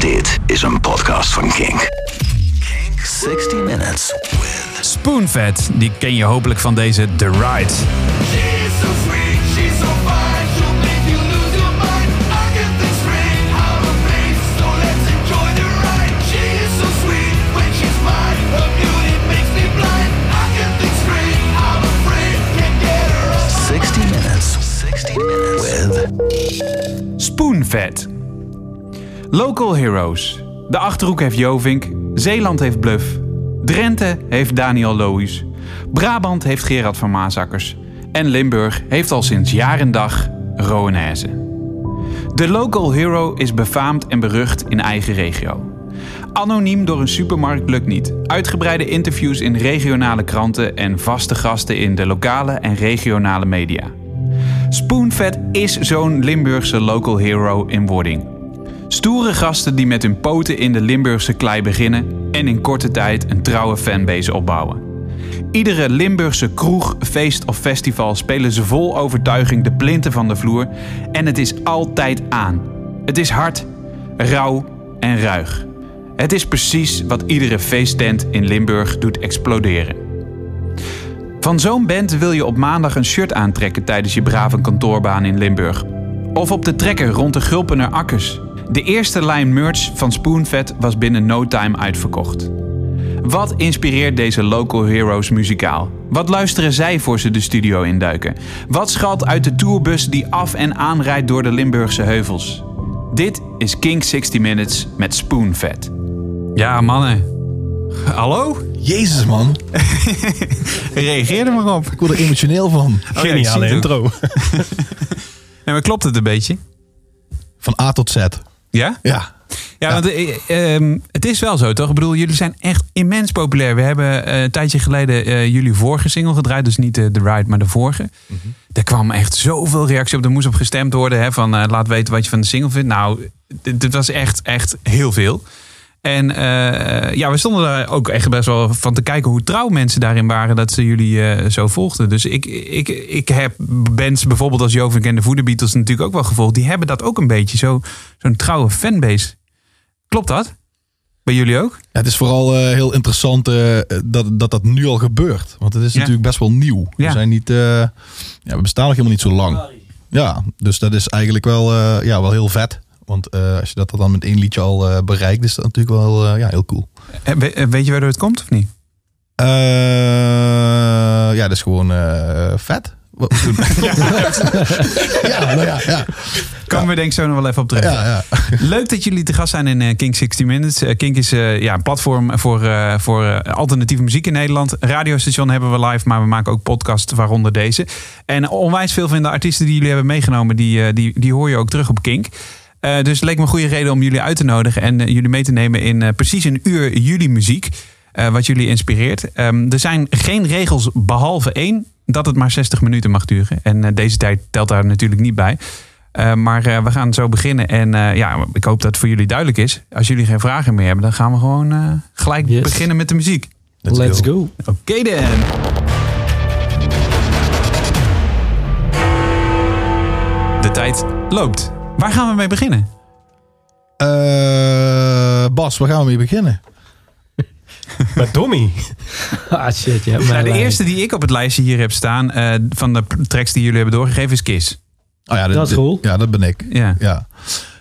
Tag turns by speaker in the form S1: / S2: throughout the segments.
S1: Dit is een podcast van Kink. 60 Minutes.
S2: Spoonvet, die ken je hopelijk van deze The Ride.
S3: She's so sweet, she's so fine. She'll make you lose your mind. I get this ring out of place, so let's enjoy the ride. She is so sweet when she's mine. Her beauty makes me blind. I get this ring out of frame, can't get her off.
S1: 60 Minutes. 60 Minutes. With
S2: Spoonvet. Local Heroes. De Achterhoek heeft Jovink. Zeeland heeft Bluff. Drenthe heeft Daniel Lohuis. Brabant heeft Gerard van Maasakkers. En Limburg heeft al sinds jaar en dag Roanese. De local hero is befaamd en berucht in eigen regio. Anoniem door een supermarkt lukt niet. Uitgebreide interviews in regionale kranten en vaste gasten in de lokale en regionale media. Spoonvet is zo'n Limburgse local hero in wording. Stoere gasten die met hun poten in de Limburgse klei beginnen en in korte tijd een trouwe fanbase opbouwen. Iedere Limburgse kroeg, feest of festival spelen ze vol overtuiging de plinten van de vloer en het is altijd aan. Het is hard, rauw en ruig. Het is precies wat iedere feesttent in Limburg doet exploderen. Van zo'n band wil je op maandag een shirt aantrekken tijdens je brave kantoorbaan in Limburg. Of op de trekker rond de Gulpener Akkers. De eerste lijn merch van Spoonvet was binnen no time uitverkocht. Wat inspireert deze local heroes muzikaal? Wat luisteren zij voor ze de studio induiken? Wat schalt uit de tourbus die af en aanrijdt door de Limburgse heuvels? Dit is King 60 Minutes met Spoonvet. Ja, mannen. Hallo?
S4: Jezus man,
S2: Reageer er maar op.
S4: ik word er emotioneel van.
S2: Geniale
S5: intro.
S2: En maar klopt het een beetje?
S4: Van A tot Z.
S2: Ja?
S4: Ja.
S2: Ja, want eh, ehm, het is wel zo, toch? Ik bedoel, jullie zijn echt immens populair. We hebben eh, een tijdje geleden eh, jullie vorige single gedraaid. Dus niet eh, de Ride, maar de vorige. Daar kwam echt zoveel reactie op. Er moest op gestemd worden. Hè, van eh, laat weten wat je van de single vindt. Nou, dit, dit was echt, echt heel veel. En eh, ja, we stonden daar ook echt best wel van te kijken hoe trouw mensen daarin waren dat ze jullie eh, zo volgden. Dus ik, ik, ik heb bands bijvoorbeeld als Jovink en de Voede Beatles natuurlijk ook wel gevolgd. Die hebben dat ook een beetje, zo, zo'n trouwe fanbase. Klopt dat? Bij jullie ook?
S4: Ja, Het is vooral eh, heel interessant eh, dat, dat dat nu al gebeurt. Want het is
S2: Ja.
S4: natuurlijk best wel nieuw.
S2: Ja.
S4: We, zijn niet, eh, ja, we bestaan nog helemaal niet zo lang. Ja, dus dat is eigenlijk wel, eh, ja, wel heel vet. Want eh, als je dat dan met één liedje al eh, bereikt, is dat natuurlijk wel eh, ja, heel cool.
S2: Eh, we- eh, Weet je waardoor het komt of niet?
S4: Eh, ja, dat is gewoon eh, vet. Wat we doen. ja, nou ja, ja,
S2: Komen we denk ik zo nog wel even op terug.
S4: ja, ja.
S2: Leuk dat jullie te gast zijn in eh, Kink 60 Minutes. Eh, Kink is eh, ja, een platform voor, eh, voor eh, alternatieve muziek in Nederland. Radiostation hebben we live, maar we maken ook podcasts, waaronder deze. En onwijs veel van de artiesten die jullie hebben meegenomen, die, eh, die, die hoor je ook terug op Kink. Eh, dus het leek me een goede reden om jullie uit te nodigen en eh, jullie mee te nemen in eh, precies een uur jullie muziek. eh, wat jullie inspireert. Ehm, er zijn geen regels behalve één, dat het maar 60 minuten mag duren. En eh, deze tijd telt daar natuurlijk niet bij. Eh, maar eh, we gaan zo beginnen. En eh, ja, ik hoop dat het voor jullie duidelijk is. Als jullie geen vragen meer hebben, dan gaan we gewoon eh, gelijk
S5: Yes.
S2: beginnen met de muziek.
S4: Let's
S5: Let's
S4: go.
S5: go.
S2: Oké dan. De tijd loopt. Waar gaan we mee beginnen?
S4: Eh, Bas, waar gaan we mee beginnen?
S5: Met Tommy. ah shit, ja.
S2: Nou, de eerste die ik op het lijstje hier heb staan eh, van de tracks die jullie hebben doorgegeven is Kiss.
S4: Oh ja,
S5: Dat is cool.
S4: Ja, dat ben ik.
S2: Ja.
S4: Ja.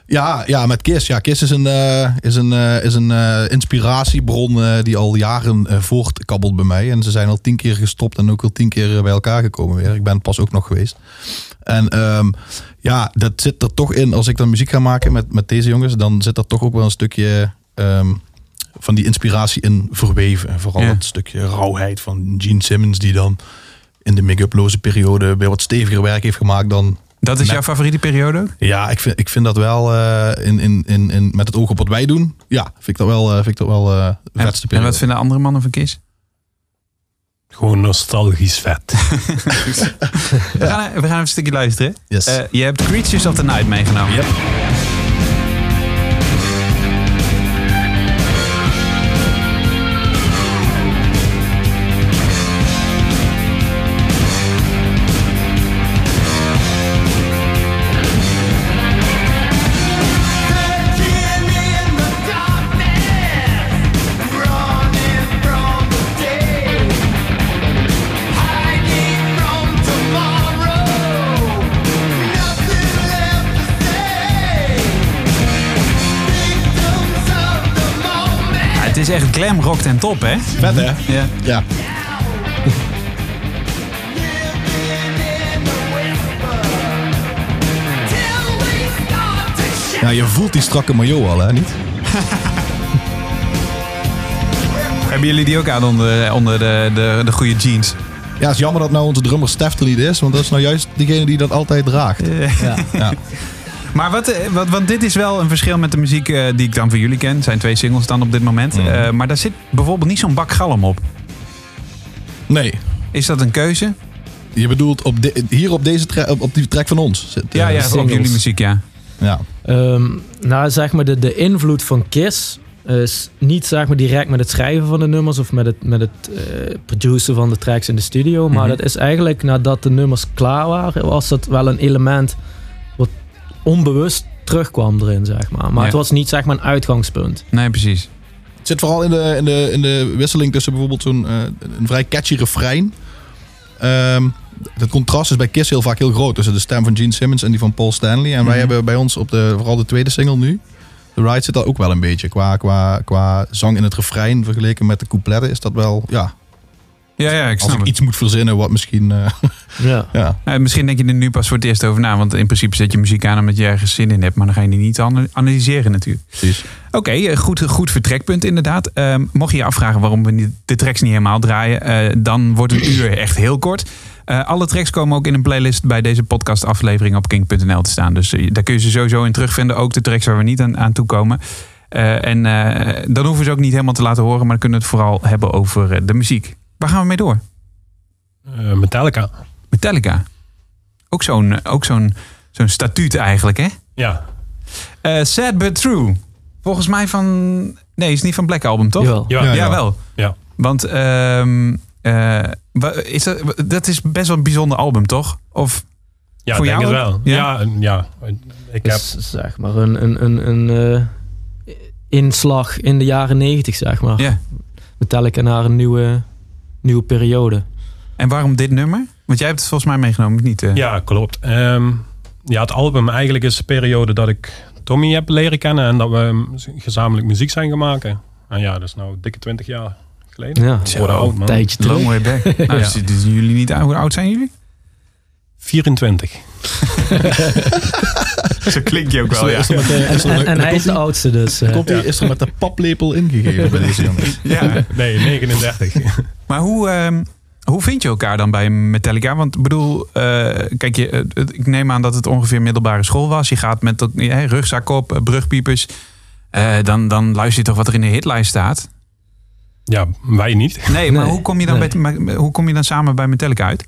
S4: Ja, ja, met Kiss. Ja, Kiss is een, eh, is een, eh, is een eh, inspiratiebron eh, die al jaren eh, voortkabbelt bij mij. En ze zijn al tien keer gestopt en ook al tien keer eh, bij elkaar gekomen weer. Ik ben pas ook nog geweest. En ehm, ja, dat zit er toch in. Als ik dan muziek ga maken met, met deze jongens, dan zit er toch ook wel een stukje ehm, van die inspiratie in verweven. En Vooral
S2: Ja.
S4: dat stukje rauwheid van Gene Simmons, die dan in de make-uploze periode weer wat steviger werk heeft gemaakt dan
S2: Dat is
S4: Met-
S2: jouw favoriete periode ook?
S4: ja, ik vind, ik vind dat wel eh, in, in, in, in, met het oog op wat wij doen. Ja, vind ik dat wel, eh, vind ik dat wel eh de
S2: En,
S4: vetste
S2: en
S4: periode.
S2: wat vinden andere mannen van Kiss?
S5: Gewoon nostalgisch vet.
S2: We, gaan, we gaan even een stukje luisteren.
S4: Yes.
S2: Eh, je hebt Creatures of the Night meegenomen.
S4: Yep.
S3: Give me in the
S2: Het is echt glam rock ten top, hè?
S4: Vet hè?
S2: Ja.
S4: Ja. Ja, je voelt die strakke maillot al, hè? Niet?
S2: Hebben jullie die ook aan onder, onder de, de, de goede jeans?
S4: Ja, het is jammer dat nou onze drummer Stef er niet is, want dat is nou juist degene die dat altijd draagt. Ja.
S2: Maar wat, eh, wat, want dit is wel een verschil met de muziek eh, die ik dan van jullie ken. Er zijn twee singles dan op dit moment. Eh, maar daar zit bijvoorbeeld niet zo'n bak galm op.
S4: Nee,
S2: Is dat een keuze?
S4: je bedoelt op de- hier op deze tra- op, op die track van ons. Zit, eh,
S2: Ja, ja op
S6: singles.
S2: jullie muziek, ja.
S4: ja.
S6: Ehm, nou, zeg maar, de, de invloed van Kiss is niet zeg maar, direct met het schrijven van de nummers of met het, met het eh, produceren van de tracks in de studio. Maar
S2: Mhm.
S6: dat is eigenlijk nadat de nummers klaar waren, was dat wel een element wat onbewust terugkwam erin, zeg maar. Maar
S2: Ja.
S6: het was niet zeg maar een uitgangspunt.
S2: Nee, precies.
S4: Het zit vooral in de, in de, in de wisseling tussen bijvoorbeeld zo'n eh, een vrij catchy refrein. Ehm, het contrast is bij Kiss heel vaak heel groot tussen de stem van Gene Simmons en die van Paul Stanley. En wij hebben bij ons op de, vooral de tweede single nu. The Ride zit daar ook wel een beetje. Qua, qua, qua zang in het refrein vergeleken met de coupletten is dat wel. Ja,
S2: Ja, ja, ik
S4: als
S2: snap
S4: ik
S2: het.
S4: iets moet verzinnen wat misschien. eh,
S6: Ja.
S4: ja.
S2: Eh, misschien denk je er nu pas voor het eerst over na. Want in principe zet je muziek aan omdat je ergens zin in hebt. Maar dan ga je die niet ana- analyseren natuurlijk.
S4: Precies.
S2: Oké, eh, goed, goed vertrekpunt inderdaad. Ehm, mocht je je afvragen waarom we niet- de tracks niet helemaal draaien. eh, dan wordt een uur echt heel kort. Eh, alle tracks komen ook in een playlist bij deze podcast aflevering op kink.nl te staan. Dus eh, daar kun je ze sowieso in terugvinden. Ook de tracks waar we niet aan, aan toekomen. Eh, en eh, dan hoeven we ze ook niet helemaal te laten horen. Maar dan kunnen we het vooral hebben over eh, de muziek. Waar gaan we mee door?
S5: Eh, Metallica.
S2: Metallica. Ook zo'n eh, ook zo'n zo'n statuut eigenlijk, hè?
S5: Ja.
S2: Eh, Sad But True. Volgens mij van... Nee, is niet van Black Album, toch?
S6: Jawel.
S5: Ja.
S2: Ja,
S5: Ja.
S2: wel.
S5: Ja.
S2: Want ehm, eh, wa- is dat, wa- dat is best wel een bijzonder album, toch? Of
S5: Ja,
S2: Voor
S5: ik denk het
S2: jou
S5: wel.
S2: ook? Ja? Dus-
S5: Ja, en- ja. Ik heb
S6: Is, zeg maar een, een, een, een eh, inslag in de jaren negentig, zeg maar.
S2: Ja.
S6: Metallica naar een nieuwe, nieuwe periode.
S2: en waarom dit nummer? Want jij hebt het volgens mij meegenomen, niet? eh?
S5: Ja, klopt. Ehm, ja, het album eigenlijk is de periode dat ik Tommy heb leren kennen en dat we ehm, gezamenlijk muziek zijn gaan maken. En ja, dat is nou dikke twintig jaar geleden.
S6: Ja,
S5: Ik word oud, man.
S6: tijdje terug.
S2: Long way back. nou, dus, dus jullie niet, hoe oud zijn jullie?
S5: 24.
S2: Zo klink je ook wel, ja.
S4: Is er met de- is er
S6: En,
S4: met-
S6: en hij is de
S4: komt
S6: oudste, dus. eh,
S4: die- komt die- Is er met de paplepel ingegeven bij deze jongens?
S2: ja.
S5: Nee, 39.
S2: Maar hoe, ehm, hoe vind je elkaar dan bij Metallica? Want ik bedoel, eh, kijk, je, eh, het- ik neem aan dat het ongeveer middelbare school was. Je gaat met dat- eh, rugzak op, eh, brugpiepers. Eh, dan, dan luister je toch wat er in de hitlijst staat.
S5: ja, wij niet.
S2: Nee, maar
S6: Nee,
S2: hoe, kom je dan
S6: nee.
S2: bij, maar hoe kom je dan samen bij Metallica uit?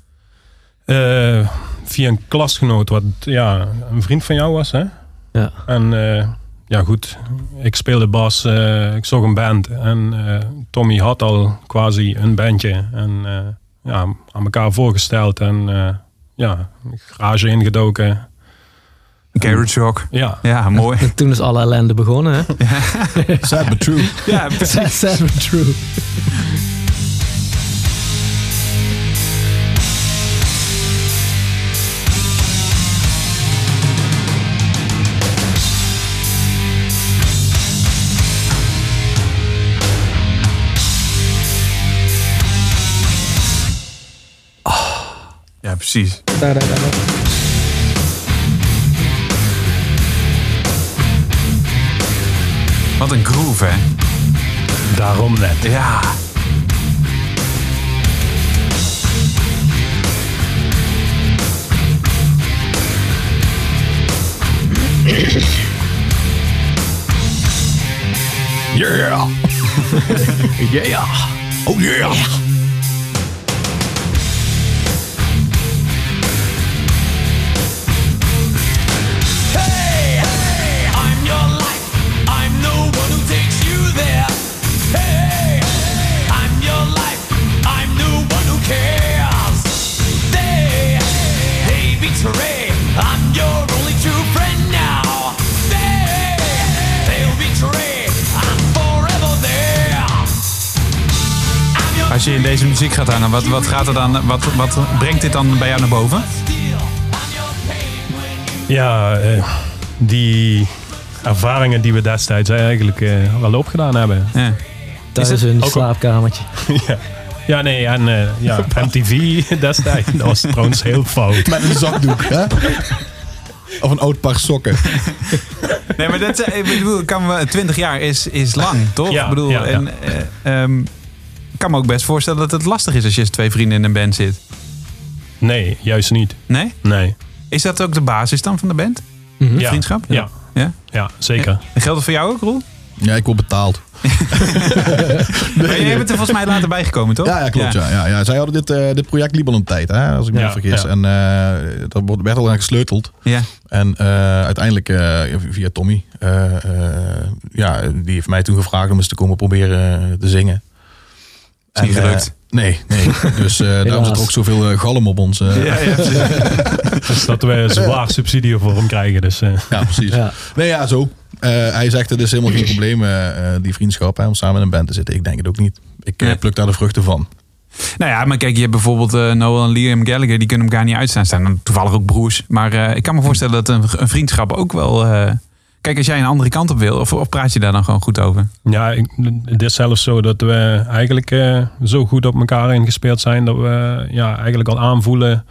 S5: Eh, via een klasgenoot, wat ja, een vriend van jou was. Hè?
S6: Ja.
S5: En eh, ja, goed. Ik speelde bas, eh, ik zocht een band. En eh, Tommy had al quasi een bandje. En eh, ja, aan elkaar voorgesteld. En eh, ja, garage ingedoken.
S2: Garage Rock.
S5: Ja,
S2: Ja, mooi.
S6: en toen is alle ellende begonnen, hè?
S4: Sad but true.
S2: ja,
S6: Sad but true.
S2: ja, precies. Wat een groove, hè?
S5: daarom net.
S2: Ja.
S4: Yeah. yeah. Oh yeah.
S3: I'm your life. I'm no one who takes you there. Hey, I'm your life. I'm no one who cares. They, they betray. I'm your only true friend now. They, they'll betray. I'm forever there. I'm your
S2: Als je in deze muziek gaat aan, wat, wat, gaat er dan, wat, wat brengt dit dan bij jou naar boven?
S3: steel. I'm your pain when you
S5: Ja, eh, die ervaringen die we destijds eigenlijk eh, wel opgedaan hebben.
S2: Ja.
S6: thuis
S5: Is het
S6: in
S5: ook
S6: een
S5: al-
S6: slaapkamertje.
S5: Ja, nee, en eh, ja, MTV destijds, dat was trouwens heel fout.
S4: Met een zakdoek, hè? Of een oud paar sokken.
S2: Nee, maar dat, zijn- ik bedoel, kan me, 20 jaar is, is lang, toch?
S5: Ja,
S2: ik bedoel,
S5: ja, ja.
S2: En, eh, ehm, ik kan me ook best voorstellen dat het lastig is als je als twee vrienden in een band zit.
S5: Nee, juist niet.
S2: Nee?
S5: Nee.
S2: Is dat ook de basis dan van de band?
S5: Ja.
S2: Vriendschap?
S5: Ja,
S2: ja?
S5: ja zeker.
S2: En geldt dat voor jou ook, Roel?
S4: Ja, ik word betaald.
S2: Maar jij bent er volgens mij later bijgekomen, toch?
S4: Ja, ja klopt. Ja. Ja. Ja, Zij hadden dit, eh, dit project Libanon tijd, hè, als ik me
S5: Ja,
S4: niet vergis.
S5: ja.
S4: En eh daar wordt- werd al aan gesleuteld.
S2: Ja.
S4: En eh, uiteindelijk eh, via Tommy. eh, eh, ja, die heeft mij toen gevraagd om eens te komen proberen eh, te zingen.
S2: Is niet
S4: En, eh,
S2: gelukt.
S4: nee, nee. Dus eh daarom zit er ook zoveel eh, galm op ons. eh. ja.
S2: Ja, ja, precies.
S5: Dus dat we zwaar subsidie voor hem krijgen. Dus, eh,
S4: precies.
S6: Ja.
S4: Nee, ja, zo. Eh, hij zegt, het is helemaal geen probleem, eh, eh, die vriendschap, hè, om samen in een band te zitten. Ik denk het ook niet. Ik eh,
S2: Nee.
S4: pluk daar de vruchten van.
S2: Nou ja, maar kijk, je hebt bijvoorbeeld eh, Noel en Liam Gallagher, die kunnen elkaar niet uitstaan. Staan dan toevallig ook broers. Maar eh, ik kan me voorstellen dat een, een vriendschap ook wel. eh, kijk, als jij een andere kant op wil, of, of praat je daar dan gewoon goed over?
S5: ja, ik, het is zelfs zo dat we eigenlijk eh, zo goed op elkaar ingespeeld zijn. Dat we ja, eigenlijk al aanvoelen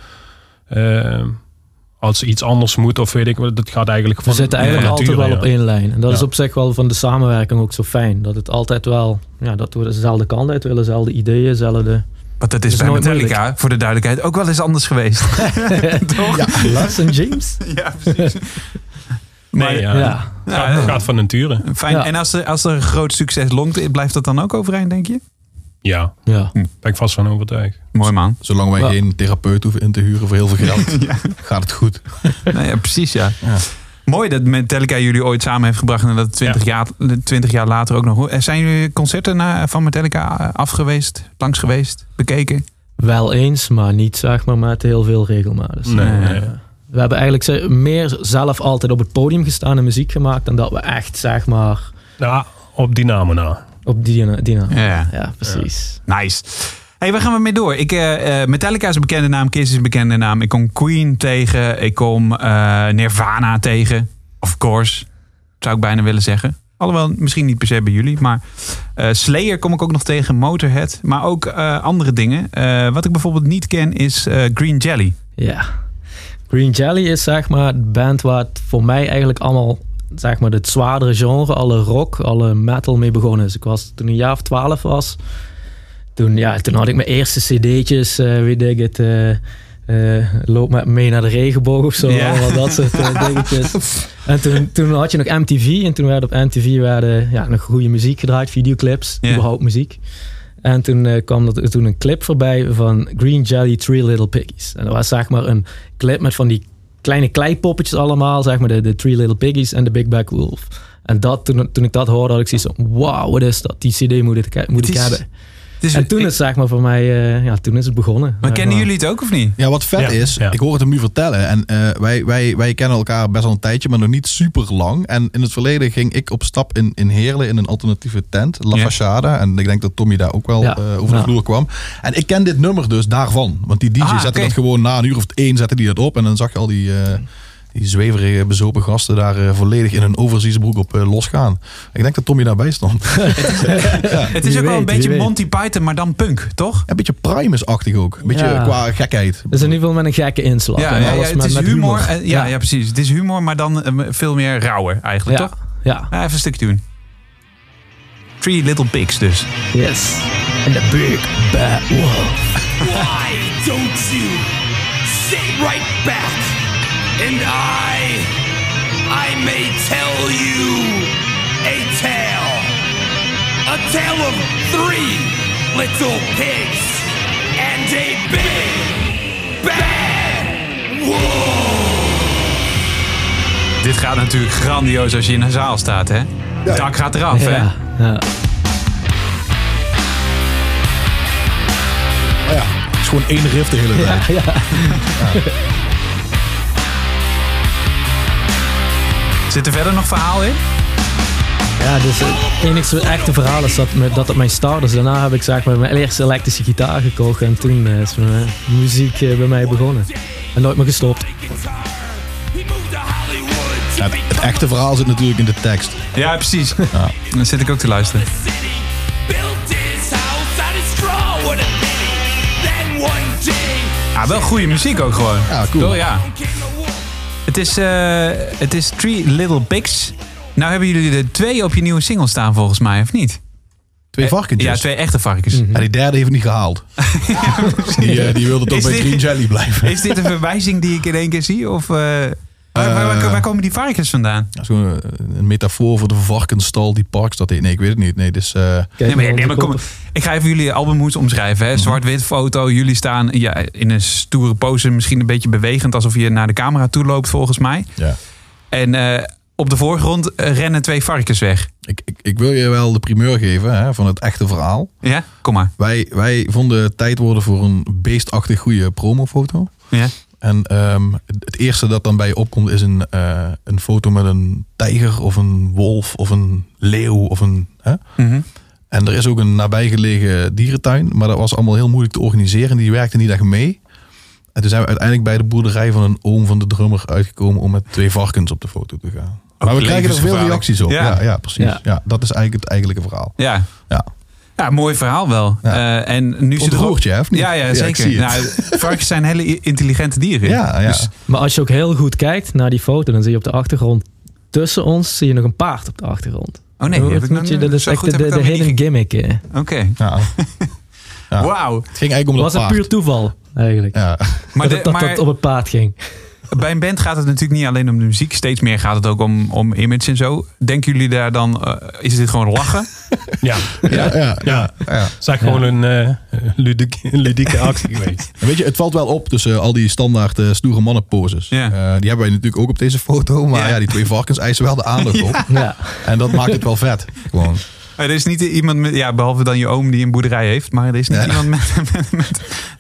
S5: eh, als iets anders moet. Of weet ik wat. Dat gaat eigenlijk
S6: We
S5: van
S6: zitten Dus eigenlijk
S5: van
S6: altijd
S5: nature,
S6: wel op
S5: ja.
S6: één lijn. En dat
S5: Ja.
S6: is op zich wel van de samenwerking ook zo fijn. Dat het altijd wel, ja, dat we dezelfde kant uit willen, dezelfde ideeën, dezelfde...
S2: Want dat is,
S6: Dat is
S2: bij
S6: nooit
S2: Metallica, voor de duidelijkheid, ook wel eens anders geweest. Toch? Ja,
S6: Lars en James?
S2: precies. Maar,
S5: Nee, ja.
S6: Ja.
S5: Gaat,
S2: Ja.
S5: gaat van nature.
S2: Fijn.
S6: Ja.
S2: En als er, als er een groot succes longt, blijft dat dan ook overeind, denk je?
S5: Ja,
S6: Ja.
S5: ben ik vast van overtuigd.
S2: Mooi man.
S4: Zolang wij
S6: Ja.
S4: geen therapeut hoeven in te huren voor heel veel geld, gaat het goed.
S2: nou ja, precies ja.
S4: Ja.
S2: Mooi dat Metallica jullie ooit samen heeft gebracht en dat het 20, jaar, 20 jaar later ook nog. Er Zijn jullie concerten na- van Metallica eh, af geweest, langs geweest, bekeken?
S6: Wel eens, maar niet zeg maar met heel veel regelmatig.
S5: Nee, nee.
S6: We hebben eigenlijk ze- meer zelf altijd op het podium gestaan en muziek gemaakt dan dat we echt zeg maar
S5: Ja, op Dynamo na.
S6: op die Dina. Ja.
S2: Ja,
S6: precies.
S2: nice. hey, waar gaan we mee door? Ik, eh, eh, Metallica is een bekende naam, Kiss is een bekende naam. Ik kom Queen tegen, ik kom eh, Nirvana tegen. Of course, zou ik bijna willen zeggen. Alhoewel, misschien niet per se bij jullie, maar eh, Slayer kom ik ook nog tegen, Motorhead. Maar ook eh, andere dingen. Eh, wat ik bijvoorbeeld niet ken is eh, Green Jelly.
S6: Ja. Green Jelly is zeg maar de band waar het voor mij eigenlijk allemaal zeg maar het zwaardere genre, alle rock, alle metal mee begonnen is. Ik was toen een jaar of twaalf was. Toen, ja, toen had ik mijn eerste cd'tjes, eh weet ik het, eh, eh, loop met me mee naar de regenboog of zo,
S2: Ja.
S6: allemaal dat soort eh, dingetjes. En toen, toen had je nog MTV en toen werd op MTV werden, ja, nog goede muziek gedraaid, videoclips,
S2: Ja.
S6: überhaupt muziek. En toen eh, kwam er toen een clip voorbij van Green Jelly Three Little Piggies. En dat was zeg maar een clip met van die kleine kleipoppetjes allemaal, zeg maar de, de Three Little Piggies en de Big Back Wolf. En dat, toen, toen ik dat hoorde, had ik zoiets van, wauw, wat is dat? Die cd moet ik, moet
S2: Het
S6: ik
S2: is-
S6: hebben.
S2: Dus
S6: En toen
S2: ik-
S6: is zeg maar voor mij, eh, ja, toen is het begonnen.
S2: maar
S6: Zeg
S2: kennen jullie het ook of niet?
S4: Ja, wat vet
S5: Ja,
S4: is,
S5: ja.
S4: ik hoor het hem nu vertellen. En eh, wij, wij, wij kennen elkaar best al een tijdje, maar nog niet super lang. En in het verleden ging ik op stap in, in Heerlen in een alternatieve tent, La
S2: Ja.
S4: Fachada. En ik denk dat Tommy daar ook wel
S6: Ja,
S4: eh, over de
S6: ja.
S4: vloer kwam. En ik ken dit nummer dus daarvan. Want die DJ
S2: Ah,
S4: zette
S2: oké.
S4: dat gewoon na een uur of één zette die dat op. En dan zag je al die, eh, die zweverige, bezopen gasten daar eh, volledig in hun overziesbroek op eh, losgaan. Ik denk dat Tommy daarbij stond.
S2: Het is
S6: Wie
S2: ook wel een
S6: weet, wie
S2: beetje
S6: weet.
S2: Monty Python, maar dan punk, toch?
S4: Een beetje Primus-achtig ook. Een beetje
S6: Ja.
S4: qua gekheid.
S6: Dus in ieder geval met een gekke inslag.
S2: Ja,
S6: En
S2: ja, ja,
S6: alles
S2: het
S6: met-
S2: is
S6: met
S2: humor. eh, Ja,
S6: Ja.
S2: ja, precies. Het is humor, maar dan eh, veel meer rauwer eigenlijk,
S6: Ja,
S2: toch?
S6: ja.
S2: Ja, even een stukje doen. Three Little Pigs dus.
S6: Yes. En de Big Bad Wolf.
S7: Why don't you sit right back and I, I may tell you a tale, a tale of three little pigs and a big bad wolf.
S2: Dit gaat natuurlijk grandioos als je in een zaal staat, hè? Het dak gaat eraf, hè?
S6: Ja, ja.
S4: Maar ja, het is gewoon één riff de hele tijd.
S2: Zit er verder nog verhaal in?
S6: Ja, dus het enige echte verhaal is dat, me- dat het mijn start is. Daarna heb ik zeg maar mijn eerste elektrische gitaar gekocht. En toen eh, is mijn muziek eh, bij mij begonnen. En nooit meer gestopt.
S2: Mhm.
S7: He moved to Hollywood to
S4: Ja,
S7: be
S4: het echte verhaal zit natuurlijk in de tekst.
S2: Ja, precies. Dan zit ik ook te luisteren.
S7: city built
S2: Ja, Ah, wel goede muziek ook gewoon.
S4: Ja, cool.
S2: Toch, ja. Het is, eh, het is Three Little Pigs. Nou hebben jullie er twee op je nieuwe single staan volgens mij, of niet?
S4: Twee varkentjes.
S2: Eh, Ja, twee echte varkens.
S4: En die derde heeft het niet gehaald. die, eh, die wilde toch
S2: Is
S4: bij
S2: dit-
S4: Green Jelly blijven.
S2: Is dit een verwijzing die ik in één keer zie? Of, eh, waar, waar,
S4: Eh.
S2: waar- waar komen die varkens vandaan?
S4: Dat is gewoon eh, een- een metafoor voor de varkensstal die Parkstad heet. Nee, ik weet het niet. Nee, dus, eh,
S2: Nee,
S6: Kijk,
S2: maar, nee,
S6: de
S2: maar kom,
S6: koppen.
S2: ik ga even jullie albumhoed omschrijven.
S4: Mhm.
S2: hè. Zwart-wit foto. Jullie staan ja, in een stoere pose. Misschien een beetje bewegend. Alsof je naar de camera toe loopt volgens mij.
S4: ja.
S2: En eh, op de voorgrond eh, rennen twee varkens weg.
S4: ik, ik, ik wil je wel de primeur geven hè, van het echte verhaal.
S2: Ja? Kom maar.
S4: Wij, wij vonden het tijd worden voor een beestachtig goede promofoto.
S2: Ja?
S4: En ehm, het eerste dat dan bij je opkomt is een, eh, een foto met een tijger of een wolf of een leeuw of een... Hè?
S2: Mhm.
S4: En er is ook een nabijgelegen dierentuin, maar dat was allemaal heel moeilijk te organiseren. Die werkte niet echt mee. En toen zijn we uiteindelijk bij de boerderij van een oom van de drummer uitgekomen om met twee varkens op de foto te gaan. Maar we krijgen er veel
S2: levensgevaarlijk.
S4: reacties op.
S2: Ja.
S4: Ja, ja, precies.
S6: Ja.
S4: Ja. dat is eigenlijk het eigenlijke verhaal.
S2: Ja.
S4: Ja.
S2: Ja, mooi verhaal wel.
S4: Ja.
S2: Eh, en nu zit er ook...
S4: Ontroert je, hè, of niet?
S2: Ja, ja,
S4: Ja, ik
S2: zeker.
S4: zie
S2: nou, varkens zijn hele i- intelligente dieren.
S4: Ja, ja.
S2: Dus
S6: Maar als je ook heel goed kijkt naar die foto, dan zie je op de achtergrond tussen ons zie je nog een paard op de achtergrond.
S2: Oh nee, die
S6: dat,
S2: heb ik
S6: moet
S2: dan-
S6: je, dat is
S2: zo
S6: echt
S2: goed
S6: de,
S2: heb ik
S6: de
S2: dan weer
S6: hele gimmick. hè. Het
S2: Oké.
S4: ja. Ja.
S2: Wauw.
S4: Het ging eigenlijk om dat
S6: was een
S4: paard.
S6: puur toeval, eigenlijk.
S4: Ja.
S2: Maar,
S6: dat,
S2: de-
S6: het- dat,
S2: maar
S6: dat op het paard ging.
S2: bij een band gaat het natuurlijk niet alleen om de muziek. Steeds meer gaat het ook om, om image en zo. Denken jullie daar dan... eh, is dit gewoon lachen?
S5: Ja,
S4: Ja, ja,
S5: ja.
S4: ja.
S5: Het is echt gewoon een eh, ludieke, ludieke actie geweest.
S4: En weet je, het valt wel op tussen al die standaard eh, stoere mannenposes.
S2: Ja.
S4: Eh, die hebben wij natuurlijk ook op deze foto. Maar
S2: Ja.
S4: ja, die twee varkens eisen wel de aandacht op.
S6: Ja.
S4: En dat maakt het wel vet. Gewoon.
S2: Er is niet iemand met... Ja, behalve dan je oom die een boerderij heeft. Maar er is niet iemand met, met, met,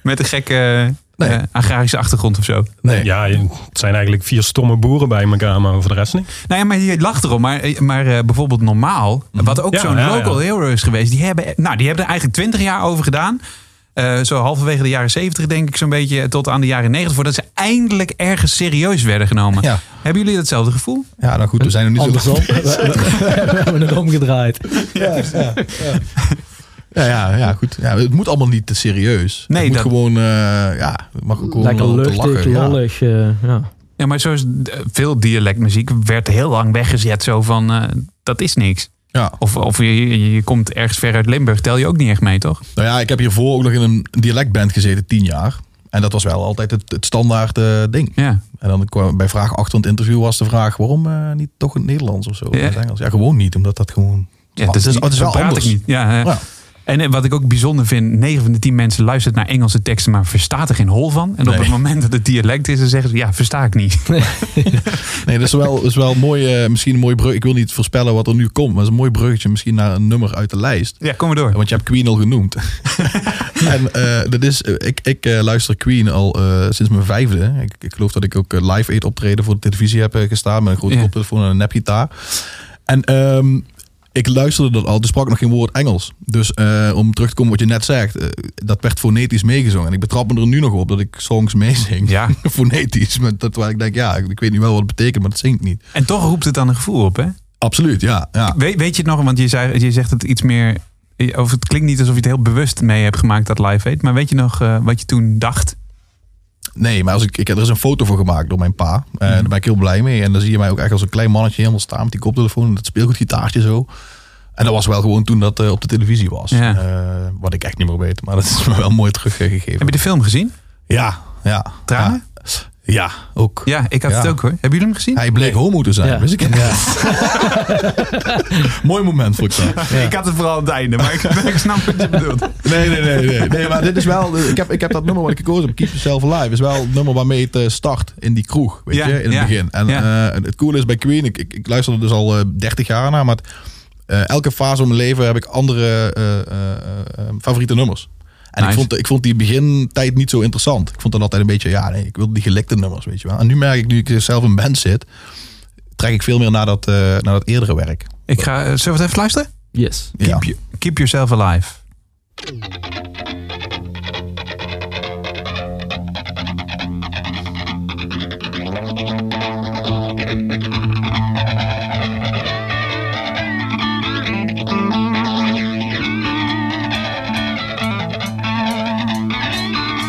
S2: met een gekke eh,
S4: Nee.
S2: agrarische achtergrond of zo.
S4: Nee.
S5: Ja, je- het zijn eigenlijk vier stomme boeren bij elkaar, maar voor de rest niet.
S2: Nou ja, maar je lacht erom. Maar, eh, maar eh, bijvoorbeeld normaal,
S4: Mhm.
S2: wat ook
S5: Ja,
S2: zo'n
S5: ja,
S2: local
S5: ja.
S2: hero is geweest, die hebben, nou, die hebben er eigenlijk twintig jaar over gedaan. Eh, zo halverwege de jaren zeventig, denk ik, zo'n beetje tot aan de jaren negentig, voordat ze eindelijk ergens serieus werden genomen.
S4: Ja.
S2: Hebben jullie datzelfde gevoel?
S4: Ja, nou goed, we zijn nog niet zo...
S6: Andersom, we, we- we hebben het omgedraaid.
S4: Ja, ja, ja, goed. Ja, het moet allemaal niet te serieus.
S2: Nee,
S4: het moet
S2: dat-
S4: gewoon... eh, ja, het mag ook gewoon
S6: Lekker
S4: wel te
S6: luchtig,
S4: lachen. Ja.
S6: lollig. eh, ja.
S2: Ja, maar zoals eh, veel dialectmuziek werd heel lang weggezet, zo van eh, dat is niks.
S4: Ja.
S2: Of, of je, je, je komt ergens ver uit Limburg, tel je ook niet echt mee, toch?
S4: Nou ja, ik heb hiervoor ook nog in een dialectband gezeten, tien jaar. En dat was wel altijd het, het standaard eh, ding.
S2: Ja.
S4: En dan kwam bij vraag 8 van het interview was de vraag waarom eh, niet toch in het Nederlands of zo?
S2: Ja.
S4: Ja. het Engels. ja, gewoon niet, omdat dat gewoon.
S2: Ja, dat
S4: Oh, het is, het is wel
S2: praat
S4: anders.
S2: Ik niet. Ja, eh.
S4: Ja.
S2: En eh, wat ik ook bijzonder vind, 9 van de 10 mensen luistert naar Engelse teksten, maar verstaat er geen hol van. En op
S4: Nee.
S2: het moment dat het dialect is, dan zeggen ze, ja, versta ik niet.
S4: Nee, dat is wel, dat is wel mooi, eh, misschien een mooi brug. Ik wil niet voorspellen wat er nu komt, maar het is een mooi bruggetje misschien naar een nummer uit de lijst.
S2: Ja, kom maar door.
S4: Want je hebt Queen al genoemd. en eh, dat is, eh, ik, ik eh, luister Queen al eh, sinds mijn vijfde. Ik, ik geloof dat ik ook eh, live eet optreden voor de televisie heb eh, gestaan. Met een grote
S2: Ja.
S4: koptelefoon en een nepgitaar. En ehm, ik luisterde dat al. Dus sprak ik nog geen woord Engels. Dus eh, om terug te komen wat je net zegt. eh, dat werd fonetisch meegezongen. En ik betrap me er nu nog op dat ik songs meezing.
S2: Ja.
S4: fonetisch. Met dat waar ik denk, ja, ik, ik weet niet wel wat het betekent. Maar dat zingt niet.
S2: En toch roept het dan een gevoel op, hè?
S4: Absoluut, ja. ja.
S2: Weet, weet je het nog, want je, zei, je zegt het iets meer... eh, Of het klinkt niet alsof je het heel bewust mee hebt gemaakt, dat live eet. Maar weet je nog eh, wat je toen dacht?
S4: Nee, maar als ik, ik, er is een foto van gemaakt door mijn pa. En
S2: Mhm.
S4: daar ben ik heel blij mee. En dan zie je mij ook echt als een klein mannetje helemaal staan met die koptelefoon en dat speelgoedgitaartje zo. En dat was wel gewoon toen dat eh, op de televisie was.
S2: Ja.
S4: Eh, wat ik echt niet meer weet, maar dat is me wel mooi teruggegeven.
S2: Heb je de film gezien?
S4: Ja, ja.
S2: Tranen?
S4: Ja, Ja, ook.
S2: Ja, ik had
S4: Ja.
S2: het ook hoor. Hebben jullie hem gezien?
S4: Hij bleek homo te zijn,
S6: Ja.
S4: wist ik niet. mooi moment vond ik dat.
S2: Ik had het vooral aan het einde, maar ik, ik snap wat je bedoelt.
S4: Nee, nee, nee, nee. nee maar dit is wel. eh, Ik heb, ik heb dat nummer wat ik gekozen heb, Keep Yourself Alive, is wel het nummer waarmee het eh, start in die kroeg. Weet
S2: Ja,
S4: je, in het
S2: ja,
S4: begin. En
S2: ja.
S4: eh, het coole is bij Queen, ik, ik, ik luister er dus al eh, 30 jaar naar, maar het, eh, elke fase van mijn leven heb ik andere eh, eh, eh, favoriete nummers. En
S2: Nice.
S4: ik, vond, ik vond die begintijd niet zo interessant. Ik vond dan altijd een beetje, ja, nee, ik wil die gelikte nummers, weet je wel. En nu merk ik, nu ik zelf in band zit, trek ik veel meer naar dat, eh, naar dat eerdere werk.
S2: Ik ga, eh, zullen we het even luisteren?
S6: Yes.
S4: Ja.
S2: Keep, you- keep yourself alive.